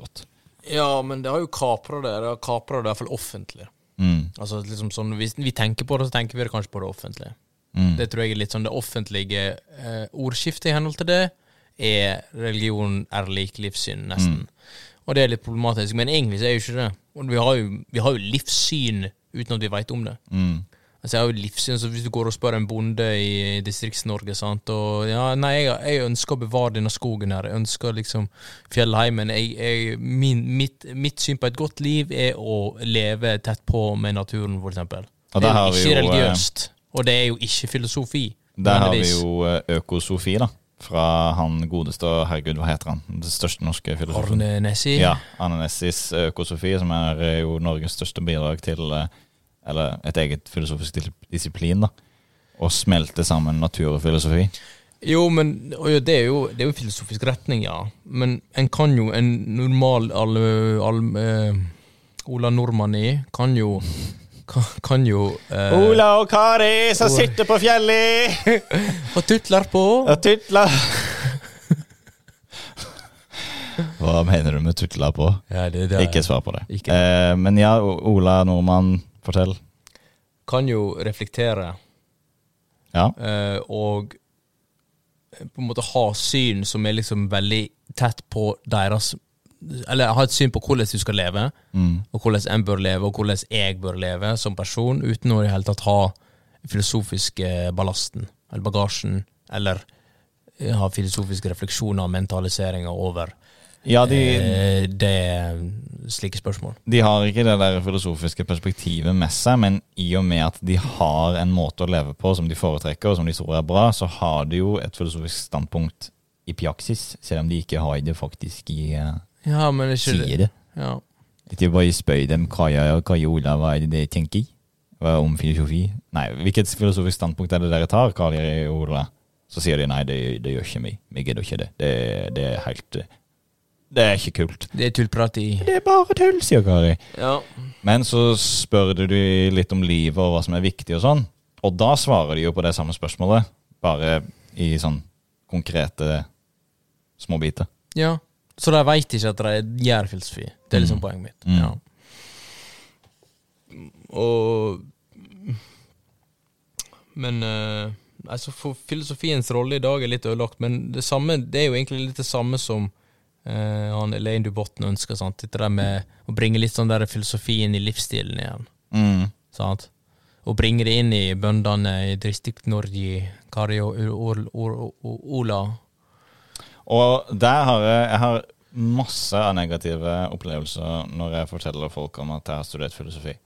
S1: godt.
S2: Ja, men det har jo kapra det. Det har kapra det i hvert fall offentlig.
S1: Mm,
S2: Altså liksom sånn, Hvis vi tenker på det, så tenker vi det kanskje på det offentlige.
S1: mm,
S2: Det tror jeg er litt sånn det offentlige eh, ordskiftet i henhold til det, er religion er lik livssyn, nesten. Og det er litt problematisk, men egentlig så er jo ikke det. Og vi har jo, vi har jo livssyn uten at vi veit om det.
S1: mm,
S2: Altså jeg har jo livssyn, så Hvis du går og spør en bonde i Distrikts-Norge sant, og ja, nei, jeg, jeg ønsker å bevare denne skogen her, jeg ønsker liksom fjellheimen jeg, jeg, min, mitt, mitt syn på et godt liv er å leve tett på med naturen, for eksempel.
S1: Og
S2: det
S1: der
S2: er
S1: har
S2: jo
S1: vi
S2: ikke
S1: jo, eh,
S2: religiøst, og det er jo ikke filosofi.
S1: Der har vi
S2: nødvendigvis.
S1: jo eh, Øko-Sofi, da. Fra han godeste og herregud, hva heter han? Den største norske filosofen.
S2: Arne Nessi.
S1: Ja, Ananassis Øko-Sofi, som er eh, jo Norges største bidrag til eh, Eller et eget filosofisk dis- disiplin, da. Å smelte sammen natur og filosofi.
S2: Jo, men og ja, det, er jo, det er jo en filosofisk retning, ja. Men en kan jo En normal al, al, eh, Ola Nordmann i kan jo Kan, kan jo eh,
S1: og Kari som
S2: Ola.
S1: sitter på fjellet
S2: Og tutler på!
S1: og tutler. Hva mener du med 'tutla på'?
S2: Ja, det, det er-
S1: Ikke svar på det.
S2: Ikke.
S1: Eh, men ja, O- Ola Nordmann, fortell.
S2: Kan jo reflektere
S1: Ja.
S2: eh, og eh, på en måte ha syn som er liksom veldig tett på deres Eller ha et syn på hvordan du skal leve.
S1: Mm.
S2: og hvordan en bør leve, og hvordan jeg bør leve som person, uten å i det hele tatt ha filosofisk eh, ballasten, eller bagasjen, eller eh, ha filosofiske refleksjoner og mentaliseringer over
S1: Ja, de,
S2: eh, det slike spørsmål.
S1: de har ikke det der filosofiske perspektivet med seg, men i og med at de har en måte å leve på som de foretrekker, og som de tror er bra, så har de jo et filosofisk standpunkt i praksis, selv om de ikke har det faktisk i eh,
S2: Ja, men det er ikke det.
S1: sier det.
S2: Ja.
S1: Ikke bare spør dem hva jeg og hva jeg, Ola, hva er det dere tenker? Hva er om filosofi? Nei, hvilket filosofisk standpunkt er det dere tar, Karl og Ola? Så sier de nei, det, det gjør ikke vi. Vi gidder ikke det. det. Det er helt eh, Det er ikke kult.
S2: Det er tullprat i
S1: Det er bare tull, sier Kari.
S2: Ja.
S1: Men så spør du de litt om livet og hva som er viktig og sånn. Og da svarer de jo på det samme spørsmålet, bare i sånn konkrete småbiter.
S2: ja. Så de veit ikke at de gjør filosofi. Det er liksom
S1: Mm.
S2: poenget mitt.
S1: Mm.
S2: Ja. Og Men eh, altså for Filosofiens rolle i dag er litt ødelagt, men det, samme, det er jo egentlig litt det samme som eh, han Elaine Dubotten ønsker. Sant? Dette der med å bringe litt sånn der filosofi inn i livsstilen igjen.
S1: Mm.
S2: Sant? Og bringe det inn i bøndene i Distrikt-Norge, Kari og Ol- Ol- Ol- Ola.
S1: Og der har jeg, jeg har masse av negative opplevelser når jeg forteller folk om at jeg har studert filosofi.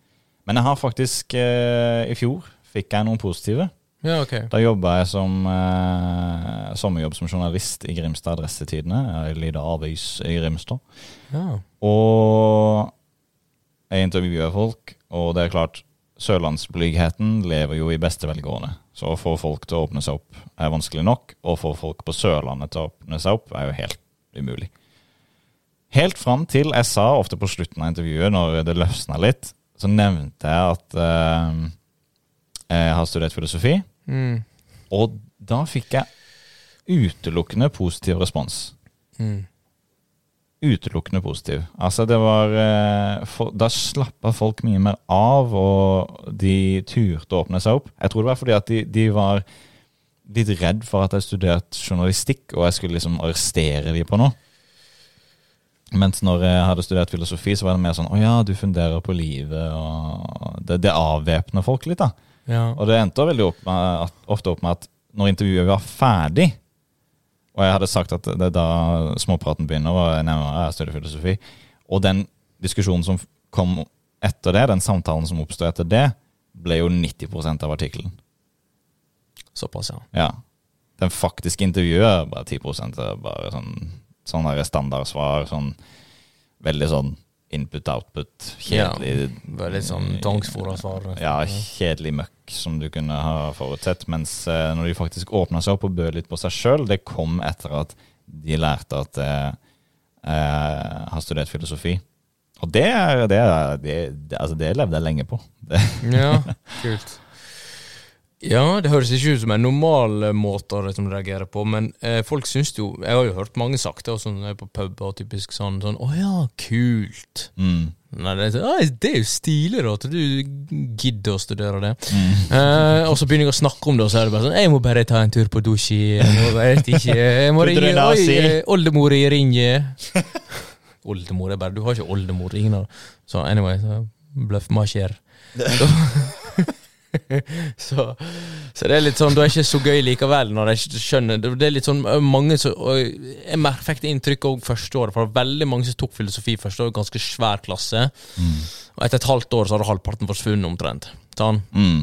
S1: Men jeg har faktisk eh, I fjor fikk jeg noen positive.
S2: Ja, ok.
S1: Da jobba jeg som eh, sommerjobb som journalist i Grimstad Adressetidene. Jeg lider avis i Grimstad.
S2: Ja.
S1: Og jeg intervjuer folk, og det er klart Sørlandsblygheten lever jo i beste velgående. Så å få folk til å åpne seg opp er vanskelig nok. Å få folk på Sørlandet til å åpne seg opp er jo helt umulig. Helt fram til jeg sa, ofte på slutten av intervjuet, når det løsna litt, så nevnte jeg at eh, jeg har studert filosofi.
S2: Mm.
S1: Og da fikk jeg utelukkende positiv respons
S2: Mm.
S1: utelukkende positiv. Altså, det var eh, for, Da slappa folk mye mer av, og de turte å åpne seg opp. Jeg tror det var fordi at de, de var litt redd for at jeg studerte journalistikk, og jeg skulle liksom arrestere de på noe. Mens når jeg hadde studert filosofi, så var det mer sånn Å ja, du funderer på livet, og Det, det avvæpner folk litt, da.
S2: Ja.
S1: Og det endte veldig opp med at, ofte opp med at når intervjuet var ferdig, og jeg hadde sagt at det er da småpraten begynner, og jeg nevner jeg studerer filosofi, og den diskusjonen som kom etter det, den samtalen som oppstod etter det, ble jo 90 av artikkelen.
S2: Såpass, ja.
S1: Ja. Den faktiske intervjuet er bare 10 er bare sånn, sånn der standardsvar, sånn veldig sånn input-output, kjedelig Mm,
S2: Veldig sånn tvangsfòra svar.
S1: ja, kjedelig møkk som du kunne ha forutsett. Mens eh, når de faktisk åpna seg opp og bød litt på seg sjøl, det kom etter at de lærte at eh, eh, jeg har studert filosofi. Og det, er- det, er- det, det, altså det levde jeg lenge på. Det,
S2: Ja, kult. Ja, det høres ikke ut som en normal eh, måte å liksom reagere på, men eh, folk syns jo Jeg har jo hørt mange sagt det, og sånn når jeg er på pub og typisk sånn sånn Å ja, kult.
S1: mm,
S2: Nei, det, er sånn, «Å, det er jo stilig, da, at du gidder å studere det.
S1: mm.
S2: Eh, og så begynner jeg å snakke om det, og så er det bare sånn Jeg må bare ta en tur på dusj. Jeg må bare ikke Jeg må
S1: Tror du det er
S2: ringe Oi,
S1: nazi?
S2: eh, oldemor i ringe. oldemor er bare Du har ikke oldemor, ingen av Så anyway, så bløffmasjer. så, så det er litt sånn Du er ikke så gøy likevel, når jeg ikke skjønner Det det er litt sånn eh, mange som og Jeg mer- fikk det inntrykket òg første året, for det var veldig mange som tok filosofi første år, ganske svær klasse. Og etter et halvt år så hadde halvparten forsvunnet omtrent. Sånn
S1: Mm.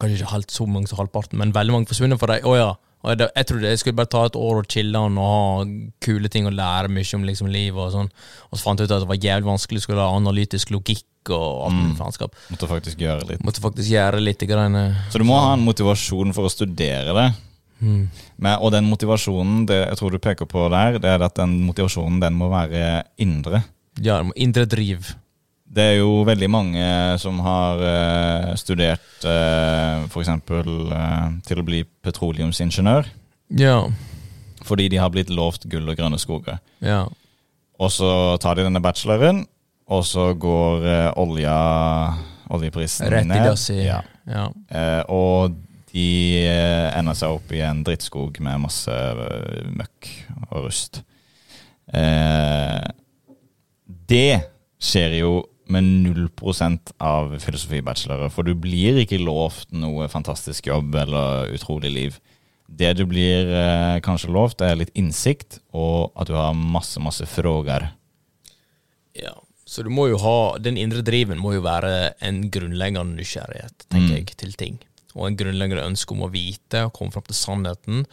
S2: kanskje ikke helt så mange som halvparten, men veldig mange forsvunnet for dem. Å ja. Og det- Jeg trodde jeg skulle bare ta et år og chille han og ha kule ting og lære mye om liksom livet og sånn. Og så fant jeg ut at det var jævlig vanskelig, skulle ha analytisk logikk og alt mulig faenskap.
S1: Måtte faktisk gjøre litt.
S2: Måtte faktisk gjøre litt eh, greiene.
S1: Så du må ha en motivasjon for å studere det.
S2: mm.
S1: Men, og den motivasjonen det jeg tror du peker på der, det er at den motivasjonen den må være indre.
S2: Ja, det må- indre driv.
S1: Det er jo veldig mange som har eh, studert eh, f.eks. Eh, til å bli petroleumsingeniør
S2: Ja.
S1: fordi de har blitt lovt gull og grønne skoger.
S2: Ja.
S1: Og så tar de denne bacheloren, og så går eh, olja, oljeprisen
S2: Rett i
S1: ned.
S2: dass i
S1: Ja.
S2: ja. ja.
S1: Eh, og de eh, ender seg opp i en drittskog med masse eh, møkk og rust. Eh, det skjer jo med 0 av filosofibachelorer, for du blir ikke lovt noe fantastisk jobb eller utrolig liv. Det du blir eh, kanskje lovt, er litt innsikt, og at du har masse, masse frågor.
S2: Så du må jo ha Den indre driven må jo være en grunnleggende nysgjerrighet, tenker
S1: Mm.
S2: jeg, til ting. Og en grunnleggende ønske om å vite og komme fram til sannheten.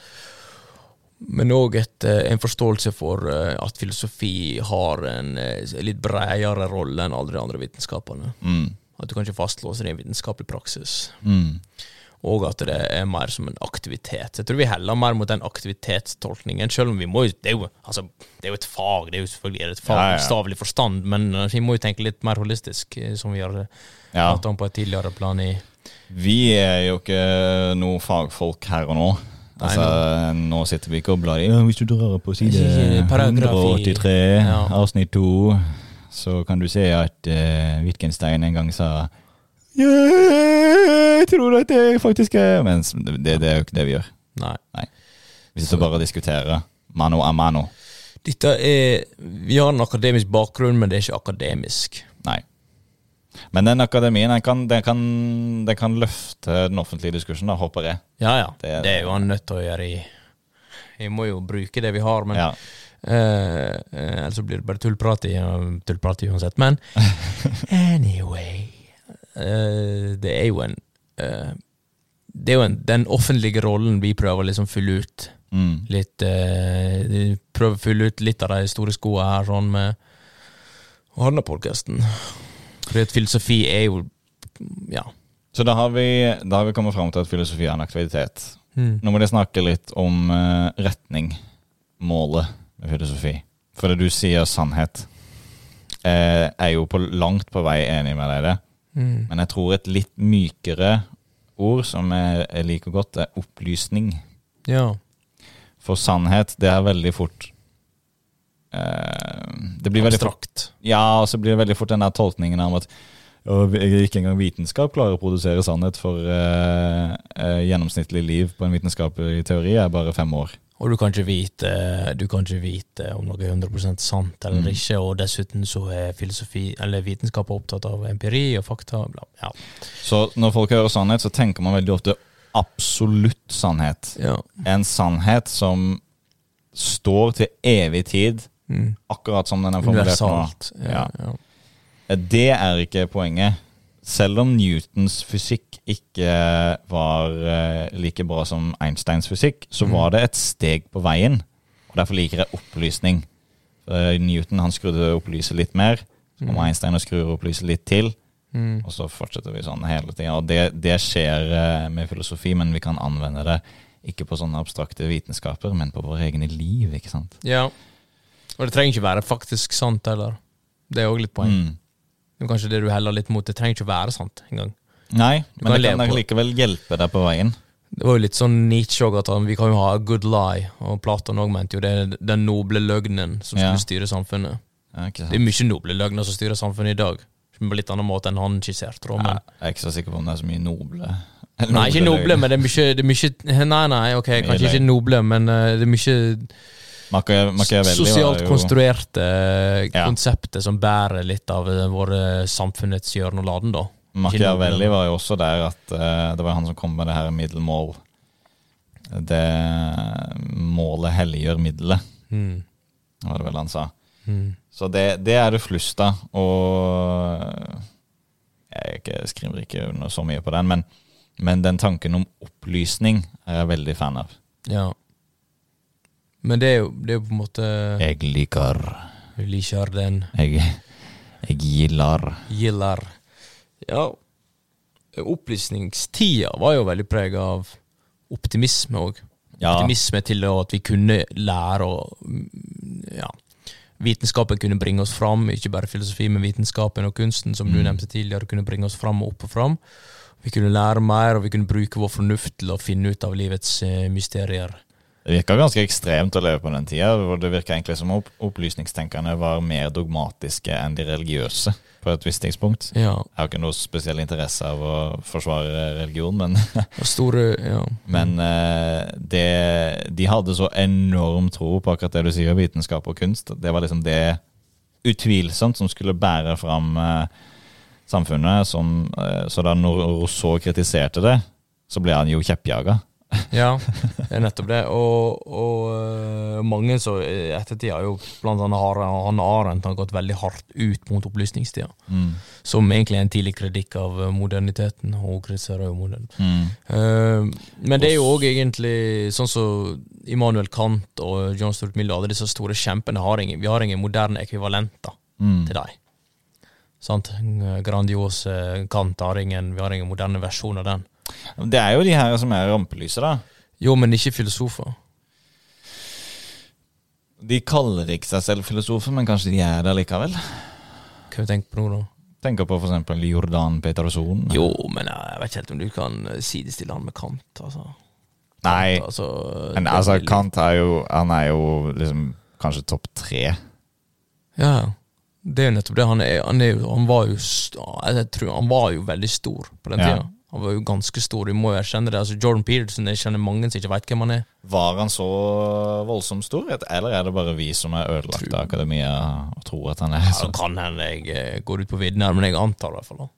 S2: Men òg en forståelse for eh, at filosofi har en eh, litt bredere rolle enn alle de andre vitenskapene.
S1: Mm.
S2: At du kan ikke fastlåse det i en vitenskapelig praksis.
S1: Mm.
S2: Og at det er mer som en aktivitet. Jeg tror vi heller mer mot den aktivitetstolkningen, selv om vi må jo Det er jo, altså, det er jo et fag, det er jo selvfølgelig er det et fag
S1: Ja, ja.
S2: i stavelig forstand, men eh, vi må jo tenke litt mer holistisk, eh, som vi har eh,
S1: Ja.
S2: pratet om på et tidligere plan i
S1: Vi er jo ikke noe fagfolk her og nå.
S2: Nei,
S1: Altså, nå sitter vi ikke og blar i ja, Hvis du drar på
S2: Ikke paragrafi.
S1: 183,
S2: Ja.
S1: avsnitt 2, så kan du se at eh, Wittgenstein en gang sa «Ja, Jeg tror at det faktisk er Men det, det er jo ikke det vi gjør.
S2: Nei.
S1: Vi sitter bare og diskuterer mano a mano.
S2: Dette er Vi har en akademisk bakgrunn, men det er ikke akademisk.
S1: Nei. Men den akademien den kan, den kan, den kan løfte den offentlige diskursen, da, håper jeg.
S2: Ja, ja.
S1: Det er-
S2: Det, er jo han nødt til å gjøre i Vi må jo bruke det vi har, men
S1: Ja.
S2: eh, eh, Ellers så blir det bare tullprat i og tullprat i uansett. Men anyway eh, Det er jo en eh, Det er jo en, den offentlige rollen vi prøver å liksom fylle ut.
S1: Mm.
S2: Litt eh, vi Prøver å fylle ut litt av de store skoene her, sånn med å ha denne podkasten. Fordi at filosofi er jo Ja.
S1: Så da har, vi, da har vi kommet fram til at filosofi er en aktivitet.
S2: Mm.
S1: Nå må jeg snakke litt om eh, retning, målet med filosofi. For det du sier sannhet, eh, er jo på langt på vei enig med deg i det.
S2: Mm.
S1: Men jeg tror et litt mykere ord som jeg, jeg liker godt, er opplysning.
S2: Ja.
S1: For sannhet, det er veldig fort eh, Det blir veldig fort
S2: Abstrakt.
S1: Ja, og så blir det veldig fort den der tolkningen om at «Å, ikke engang vitenskap klarer å produsere sannhet, for eh, eh, gjennomsnittlig liv på en vitenskapelig teori er bare fem år.
S2: Og du kan ikke vite, du kan ikke vite om noe er 100 sant eller
S1: Mm.
S2: ikke, og dessuten så er filosofi, eller vitenskap opptatt av empiri og fakta. Bla. Ja.
S1: Så når folk hører sannhet, så tenker man veldig ofte absolutt sannhet.
S2: Ja.
S1: En sannhet som står til evig tid,
S2: Mm.
S1: akkurat som den er formulert nå.
S2: Universalt. Ja,
S1: Ja.
S2: ja.
S1: Det er ikke poenget. Selv om Newtons fysikk ikke var eh, like bra som Einsteins fysikk,
S2: Mm.
S1: så var det et steg på veien. Og Derfor liker jeg opplysning. Eh, Newton han skrudde opp lyset litt mer, så kommer Einstein og skrur opp lyset litt til.
S2: Mm.
S1: Og så fortsetter vi sånn hele tida. Og det, det skjer eh, med filosofi, men vi kan anvende det ikke på sånne abstrakte vitenskaper, men på våre egne liv, ikke sant.
S2: ja. Og det trenger ikke være faktisk sant heller. Det er òg litt poeng.
S1: Mm.
S2: Det er kanskje det du heller litt mot. Det trenger ikke å være sant engang.
S1: Nei,
S2: Du
S1: men
S2: kan
S1: det
S2: leve
S1: kan
S2: på det.
S1: likevel hjelpe deg på veien.
S2: Det var jo litt sånn Nietzsche òg, at han, vi kan jo ha a good lie. Og Platon òg mente jo det er den noble løgnen som
S1: Ja.
S2: skulle styre samfunnet.
S1: Ja, ikke
S2: Det
S1: sant?
S2: er mye noble løgner som styrer samfunnet i dag. På litt annen måte enn han skisserte. da,
S1: Ja,
S2: Men,
S1: jeg er ikke så sikker på om det er så mye noble
S2: nei, ikke noble,
S1: løgn.
S2: men det er mye, det er mye Nei, nei, ok,
S1: Mye
S2: kanskje
S1: løgn.
S2: ikke noble, men eh, det er mye
S1: Makia- Machiavelli var
S2: sosialt
S1: jo-
S2: konstruerte eh,
S1: Ja.
S2: konsepter som bærer litt av eh, våre samfunnets hjørne og laden, da.
S1: Machiavelli var jo også der at eh, det var han som kom med det her middelmål. Det målet helliger middelet,
S2: Mm.
S1: var det vel han sa.
S2: Mm.
S1: Så det, det er det flust av, og jeg, er ikke, skriver ikke under så mye på den, men, men den tanken om opplysning er jeg veldig fan av.
S2: Ja. Men det er jo, det er jo på en måte
S1: Jeg liker
S2: Liker den.
S1: Jeg, jeg gillar
S2: Gillar. Ja, opplysningstida var jo veldig prega av optimisme òg.
S1: Ja.
S2: Optimisme til å- at vi kunne lære og mm, Ja. Vitenskapen kunne bringe oss fram, ikke bare filosofi, men vitenskapen og kunsten, som du
S1: Mm.
S2: nevnte tidligere, kunne bringe oss fram og opp og fram. Vi kunne lære mer, og vi kunne bruke vår fornuft til å finne ut av livets eh, mysterier.
S1: Det virka ganske ekstremt å leve på den tida. hvor Det virka egentlig som opp opplysningstenkerne var mer dogmatiske enn de religiøse på et visst tidspunkt.
S2: Ja,
S1: Jeg har ikke noe spesiell interesse av å forsvare religion, men,
S2: og store Ja. Mm.
S1: men eh, det, de hadde så enorm tro på akkurat det du sier, vitenskap og kunst. Det var liksom det utvilsomt som skulle bære fram eh, samfunnet. Som, eh, så da når Rousseau kritiserte det, så ble han jo kjeppjaga.
S2: Ja, det er nettopp det. Og, og øh, mange så i ettertid har jo blant annet har, han Arendt har gått veldig hardt ut mot opplysningstida,
S1: Mm.
S2: som egentlig er en tidlig kritikk av øh, moderniteten. og Hun kritiserer jo modern.
S1: Mm.
S2: Eh, men det er jo òg egentlig sånn som Immanuel Kant og John Stuart Mill og alle disse store kjempene har ingen, Vi har ingen moderne ekvivalenter
S1: Mm.
S2: til dem. Sant? Grandiose Kant har ingen, vi har ingen moderne versjon av den.
S1: Det er jo de her som er rampelyset, da.
S2: Jo, men ikke filosofer.
S1: De kaller ikke seg selv filosofer, men kanskje de er det likevel.
S2: Hva har vi tenkt på nå, da?
S1: Tenker på f.eks. Jordan Peterson.
S2: Jo, men jeg vet ikke helt om du kan sidestille han med Kant, altså.
S1: Nei,
S2: altså,
S1: men altså, Kant er jo Han er jo liksom kanskje topp tre.
S2: Ja, ja. det er jo nettopp det. Han, er, han, er, jo- han var jo st- jeg tror Han var jo veldig stor på den
S1: Ja.
S2: tida. Han var jo ganske stor, du må jo erkjenne det. Altså, Jordan Peterson, jeg kjenner mange som ikke veit hvem han er.
S1: Var han så voldsomt stor, eller er det bare vi som er ødelagt av akademia og tror at han er
S2: Så
S1: sånn?
S2: kan hende jeg eh, går ut på vidden her, men jeg antar i hvert fall da.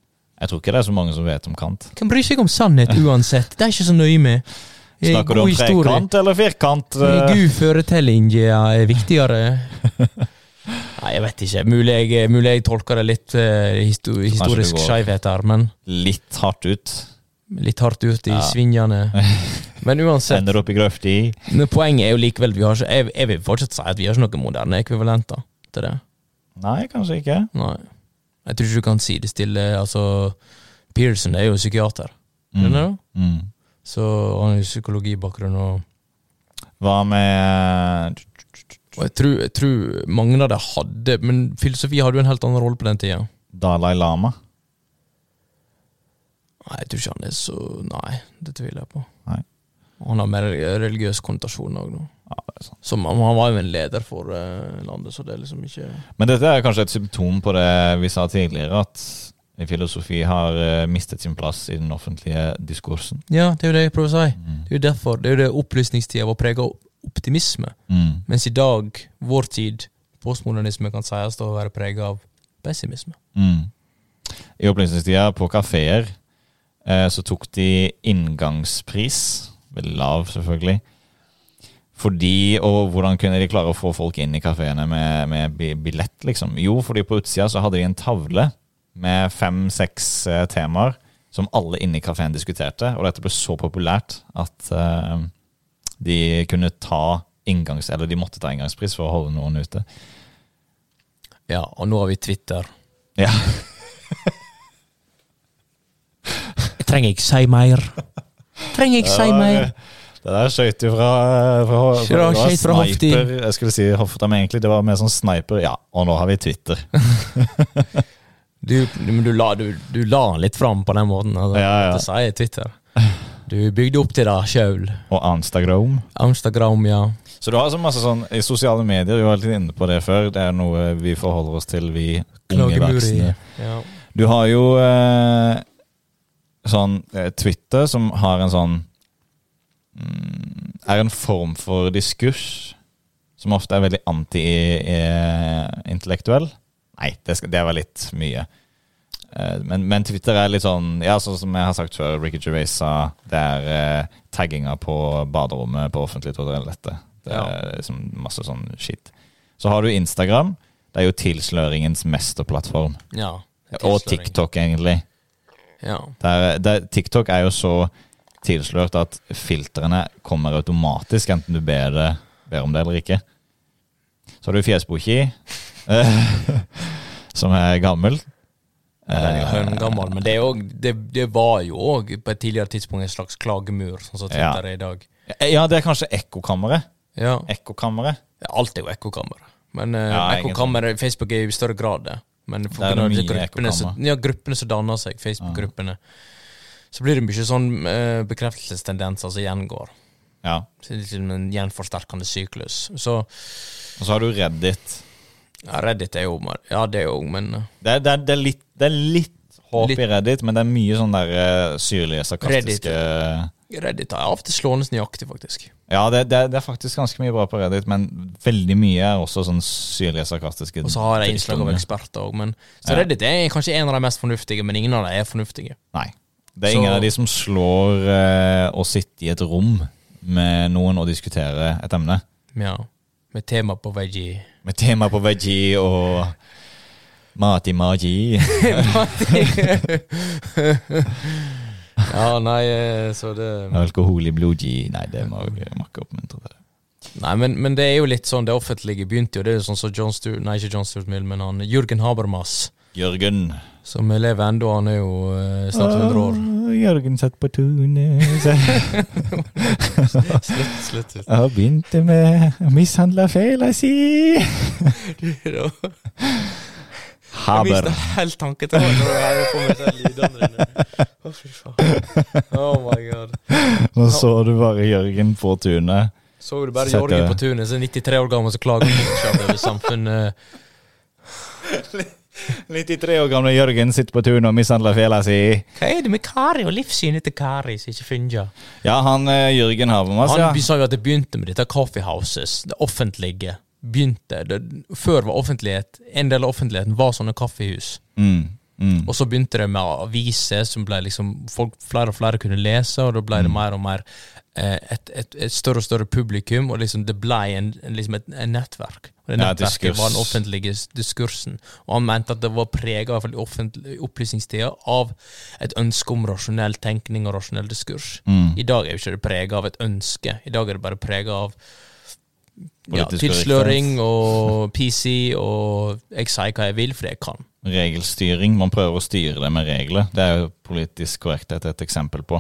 S1: Jeg tror ikke det er så mange som vet om Kant.
S2: Hvem bryr seg om sannhet uansett? Det er ikke så nøye med. Eh,
S1: Snakker du
S2: god
S1: om
S2: historie.
S1: trekant eller firkant?
S2: Eh,
S1: eh?
S2: Gud føretelling er viktigere. Nei, jeg vet ikke. Mulig jeg, eh, mulig jeg tolker det litt eh, histo historisk
S1: det går-
S2: skeivhet her, men
S1: Litt hardt ut.
S2: litt hardt ut i
S1: Ja.
S2: svingene. Men uansett,
S1: Ender opp i grøfti.
S2: men poenget er jo likevel at vi har ikke, jeg, jeg vil fortsatt si at vi har ikke noen moderne ekvivalenter til det.
S1: Nei, kanskje ikke.
S2: Nei. Jeg tror ikke du kan si det stille. Altså, Pearson er jo psykiater, skjønner du?
S1: Mm.
S2: Så han har jo psykologibakgrunn og
S1: Hva med
S2: og jeg tror, jeg tror mange av det hadde Men filosofi hadde jo en helt annen rolle på den tida.
S1: Dalai Lama?
S2: Nei, jeg tror ikke han er så Nei, det tviler jeg på.
S1: Nei.
S2: Han har mer religiøs konnotasjon òg nå.
S1: Ja, det er sant.
S2: Som, han han var jo en leder for eh, landet, så det er liksom ikke
S1: Men dette er kanskje et symptom på det vi sa tidligere, at filosofi har eh, mistet sin plass i den offentlige diskursen.
S2: Ja, det er jo det jeg prøver å si.
S1: Mm.
S2: Det er jo derfor, det er jo det opplysningstida var prega av optimisme.
S1: Mm.
S2: Mens i dag, vår tid, postmodernisme kan sies å være prega av pessimisme.
S1: Mm. I opplysningstida på kafeer eh, så tok de inngangspris, veldig lav selvfølgelig, fordi, og hvordan kunne de klare å få folk inn i kafeene med, med bi- billett, liksom? Jo, fordi på utsida så hadde de en tavle med fem-seks eh, temaer som alle inne i kafeen diskuterte, og dette ble så populært at eh, de kunne ta inngangs... Eller de måtte ta inngangspris for å holde noen ute.
S2: Ja, og nå har vi Twitter.
S1: Ja.
S2: Jeg trenger ikke si mer. Trenger ikke si
S1: Ja,
S2: mer.
S1: Det der skøyt jo fra, eh, fra,
S2: Skjøt fra-
S1: det var
S2: skjøt fra hofta.
S1: sniper. Jeg skulle si hofta, men egentlig det var mer sånn sniper. Ja, og nå har vi Twitter.
S2: Du, men du la, du, du la han litt fram på den måten. Altså,
S1: Ja, ja.
S2: Det sier Twitter. Du bygde opp til det sjøl.
S1: Og Anstagram.
S2: Amstagram, ja.
S1: Så du har så masse sånn i sosiale medier, du var litt inne på det før, det er noe vi forholder oss til, vi unge
S2: Klagemuri.
S1: voksne.
S2: Ja.
S1: Du har jo eh, sånn eh, Twitter som har en sånn mm, Er en form for diskurs som ofte er veldig anti-intellektuell. Nei, det, skal, det var litt mye. Eh, Men, men Twitter er litt sånn Ja, sånn som jeg har sagt før, Ricky Gervais sa det er eh, tagginga på baderommet på offentlig toalettet. Det er liksom masse sånn shit. Så har du Instagram. Det er jo tilsløringens mesterplattform.
S2: ja.
S1: Og TikTok, egentlig.
S2: Ja.
S1: Der, der, TikTok er jo så tilslørt at filtrene kommer automatisk, enten du ber, det, ber om det eller ikke. Så har du Fjesboki, eh, som er gammel. Eh,
S2: Den er jo høngammal, men det, er òg- det, det var jo òg på et tidligere tidspunkt en slags klagemur, sånn som
S1: Ja.
S2: Twitter er i dag.
S1: Eh, Ja, det er kanskje ekkokammeret.
S2: Ja.
S1: Ekkokammeret.
S2: Alt er jo ekkokammer. Men eh,
S1: Ja,
S2: ekkokammer Facebook er jo i større grad det. Men for
S1: Det er
S2: grunn av
S1: mye
S2: disse gruppene, så,
S1: ekkokammer.
S2: ja, gruppene som danner seg, Facebook-gruppene, så blir det mye sånn eh, bekreftelsestendenser som gjengår.
S1: Ja.
S2: Så det er liksom en gjenforsterkende syklus. Så
S1: Og så har du Reddit.
S2: ja, Reddit er jo mer- Ja, det òg, men eh,
S1: Det er, det er, det er, litt, det er litt håp
S2: Litt.
S1: i Reddit, men det er mye sånn der eh, syrlige,
S2: Reddit.
S1: sarkastiske
S2: Reddit er av og til slående nøyaktig, faktisk.
S1: Ja, det, det, det er faktisk ganske mye bra på Reddit, men veldig mye er også sånn syrlige, sarkastiske
S2: Og så har jeg innslag av
S1: drittunge.
S2: eksperter òg, men Så
S1: Ja.
S2: Reddit er kanskje en av de mest fornuftige, men ingen av de er fornuftige.
S1: Nei. Det er
S2: Så-
S1: ingen av de som slår eh, å sitte i et rom med noen og diskutere et emne.
S2: Ja. Med tema på veggie.
S1: Med tema på veggie og mat i magi.
S2: ja, nei, eh, så det
S1: Alkohol i blodgi. Nei, det må jeg må ikke oppmuntre til.
S2: Nei, men, men det er jo litt sånn, det offentlige begynte jo, det er jo sånn som John Stewart, nei ikke John Stewart Mill, men han Jørgen Habermas,
S1: Jørgen.
S2: som lever ennå, han er jo eh, snart 100 år.
S1: Å, Ah, Jørgen satt på tunet.
S2: Slutt, slutt. slutt.
S1: Jeg begynte med å mishandle fela si.
S2: Jeg
S1: Haber.
S2: mistet helt tanketråden når jeg hører på meg selv lydene dine. Å, fy faen. Oh my god.
S1: Nå så du bare Jørgen på tunet.
S2: Så du bare
S1: Sett
S2: Jørgen
S1: det.
S2: på tunet, så er 93 år gammel, så klager han fortsatt over samfunnet.
S1: 93 år gamle Jørgen sitter på tunet og mishandler fela si.
S2: Hva er det med Kari og livssynet til Kari som ikke fungerer?
S1: Ja, han eh, Jørgen Habermas,
S2: Han
S1: ja.
S2: be- sa jo at det begynte med dette coffee houses, det offentlige. Begynte, det, før var offentlighet, en del av offentligheten var sånne kaffehus.
S1: Mm, mm.
S2: Og så begynte det med aviser som ble liksom, folk, flere og flere kunne lese, og da ble
S1: Mm.
S2: det mer og mer eh, et, et, et større og større publikum, og liksom det ble en, en- liksom et, en nettverk. Og det
S1: Ja,
S2: nettverket
S1: diskurs.
S2: var den offentlige s- diskursen. Og han mente at det var prega av opplysningstida av et ønske om rasjonell tenkning og rasjonell diskurs.
S1: mm.
S2: I dag er jo ikke det prega av et ønske, i dag er det bare prega av ja,
S1: Politisk
S2: tilsløring og PC og 'jeg sier hva jeg vil, for jeg kan'.
S1: Regelstyring. Man prøver å styre det med regler. Det er jo politisk korrekthet et eksempel på.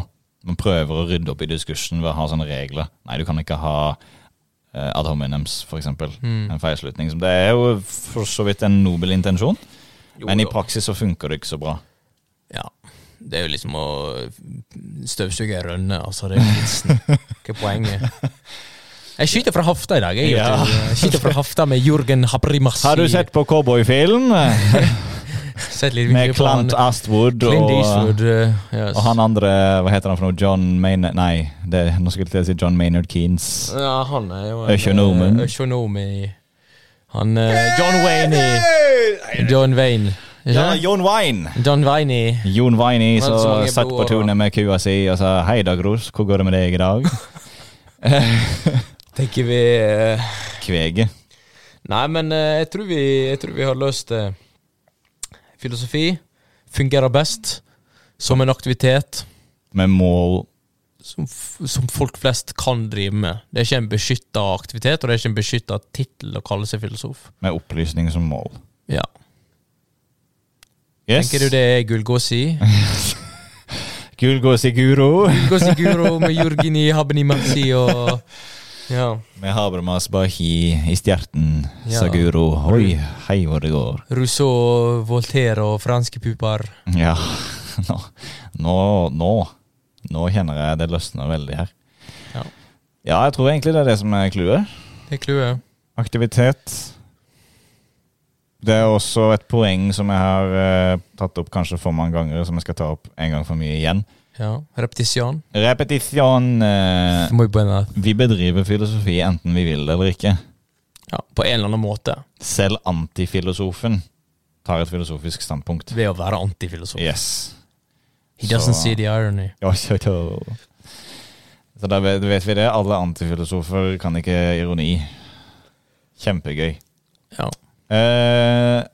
S1: Man prøver å rydde opp i diskursen ved å ha sånne regler. Nei, du kan ikke ha eh, ad hominems, for eksempel.
S2: Mm.
S1: En feilslutning. som- Det er jo for så vidt en nobel intensjon,
S2: Jo,
S1: men i
S2: jo.
S1: praksis så funker det ikke så bra.
S2: Ja. Det er jo liksom å støvsuge ei rønne, altså. Det er jo vitsen. Hva er poenget? Jeg skyter fra hofta i dag. Jeg,
S1: Ja.
S2: vet du. jeg skyter fra hofta med Jørgen Habrimassi.
S1: Har du sett på cowboyfilm
S2: Sett litt mye
S1: med
S2: på han.
S1: Clant Astwood
S2: Clint
S1: og
S2: Eastwood. eh, yes.
S1: og han andre, hva heter han for noe? John Maynard Nei, det, nå skulle jeg til å si John Maynard Keanes.
S2: Ja, han er jo en,
S1: Økonomen.
S2: eh, Økonom i Han eh, John Wayne i John Wayne.
S1: Ja,
S2: Ikke?
S1: John Wine.
S2: John Wayne i
S1: Jon Wine
S2: Han hadde så
S1: som
S2: mange
S1: satt
S2: blå
S1: på
S2: årer.
S1: tunet med kua si og sa 'Hei, Dag Ros, hvor går det med deg i dag?'
S2: Tenker vi eh,
S1: Kvege.
S2: Nei, men eh, jeg, tror vi, jeg tror vi har løst det. Filosofi fungerer best som en aktivitet
S1: Med mål
S2: som, f som folk flest kan drive med. Det er ikke en beskytta aktivitet, og det er ikke en beskytta tittel å kalle seg filosof.
S1: med opplysning som mål.
S2: Ja.
S1: Yes.
S2: Tenker du det er Gulgåsi?
S1: Gulgås i guro.
S2: Gulgåsi Guro med Jurgini Habenimatsi og Ja.
S1: Vi har det med oss bak i, i stjerten,
S2: Ja.
S1: Saguro. Oi, hei hvor det går.
S2: Rousseau, Voltaire og franske puper.
S1: Ja, nå, nå, nå, nå kjenner jeg det løsner veldig her.
S2: Ja.
S1: Ja, jeg tror egentlig det er det som er clouet.
S2: Det er clouet.
S1: Aktivitet. Det er også et poeng som jeg har eh, tatt opp kanskje for mange ganger, som jeg skal ta opp en gang for mye igjen.
S2: Ja. Repetition.
S1: Repetisjon. eh,
S2: Må jo på, en, eller-
S1: vi bedriver filosofi enten vi vil det eller ikke.
S2: ja, på en eller annen måte.
S1: Selv antifilosofen tar et filosofisk standpunkt.
S2: Ved å være antifilosof.
S1: Yes.
S2: He doesn't
S1: Så-
S2: see the irony.
S1: Ja, ja, ja. Så da vet, vet vi det. Alle antifilosofer kan ikke ironi. Kjempegøy.
S2: Ja.
S1: Eh,
S2: Hva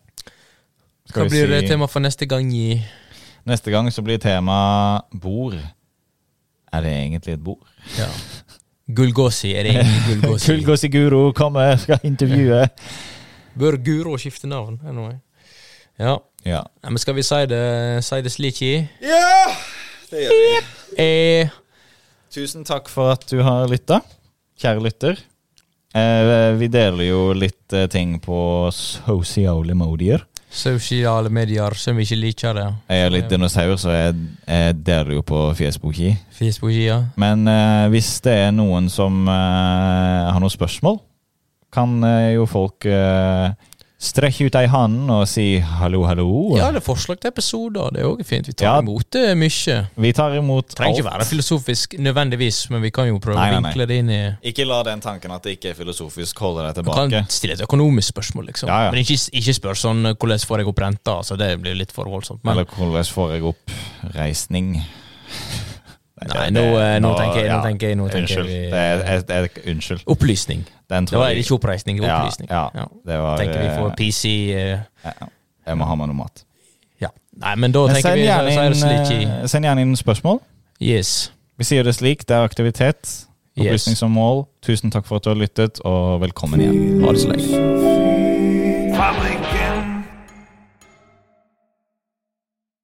S1: skal vi
S2: blir det
S1: si
S2: tema for neste gang i
S1: Neste gang så blir tema bord. Er det egentlig et bord?
S2: ja. Gulgosi? Er det egentlig Gulgosi?
S1: Kulgås i Guro kommer, skal intervjue.
S2: Bør Guro skifte navn? Anyway. Ja.
S1: Ja.
S2: Nei, men skal vi si det, si det slik i
S1: ja, det gjør vi.
S2: eh,
S1: Tusen takk for at du har lytta, kjære lytter. Eh, vi deler jo litt eh, ting på sosiale medier.
S2: Sosiale medier som ikke liker det.
S1: Jeg er litt dinosaur, så jeg, jeg deler jo på Facebook. i.
S2: Facebook-sida.
S1: Men eh, hvis det er noen som eh, har noen spørsmål, kan eh, jo folk eh, strekke ut ei hånd og si hallo, hallo.
S2: Ja, det er forslag til episoder. Det er òg fint. Vi tar
S1: Ja.
S2: imot det mye.
S1: Vi tar imot
S2: Trenger
S1: alt.
S2: ikke være filosofisk nødvendigvis, men vi kan jo prøve
S1: Nei, nei,
S2: å
S1: nei.
S2: vinkle det inn i
S1: Ikke la den tanken at det ikke er filosofisk holde deg
S2: Du
S1: tilbake.
S2: kan stille et økonomisk spørsmål, liksom.
S1: Ja, ja.
S2: Men ikke, ikke spør sånn 'hvordan får jeg opp renta', altså, det blir litt for voldsomt. Men
S1: Eller hvordan får jeg opp reisning?
S2: Nei, nå, eh, nå tenker jeg- nå tenker jeg- nå tenker
S1: unnskyld.
S2: jeg vi-
S1: Det er, er, er, unnsskyld.
S2: opplysning.
S1: Den
S2: Det
S1: tror
S2: var
S1: jeg
S2: ikke oppreisning, det var
S1: Ja,
S2: opplysning.
S1: ja. Det var,
S2: tenker vi får
S1: eh,
S2: PC eh,
S1: ja, Jeg må ha meg noe mat.
S2: Ja. Nei, men da
S1: Men
S2: tenker
S1: send
S2: vi
S1: gjerne,
S2: sier det slik
S1: inn,
S2: i
S1: eh, send gjerne inn spørsmål.
S2: Yes.
S1: Vi sier det slik. Det er aktivitet.
S2: Yes.
S1: Opplysning som mål. Tusen takk for at du har lyttet, og velkommen igjen.
S2: Ha det så lenge.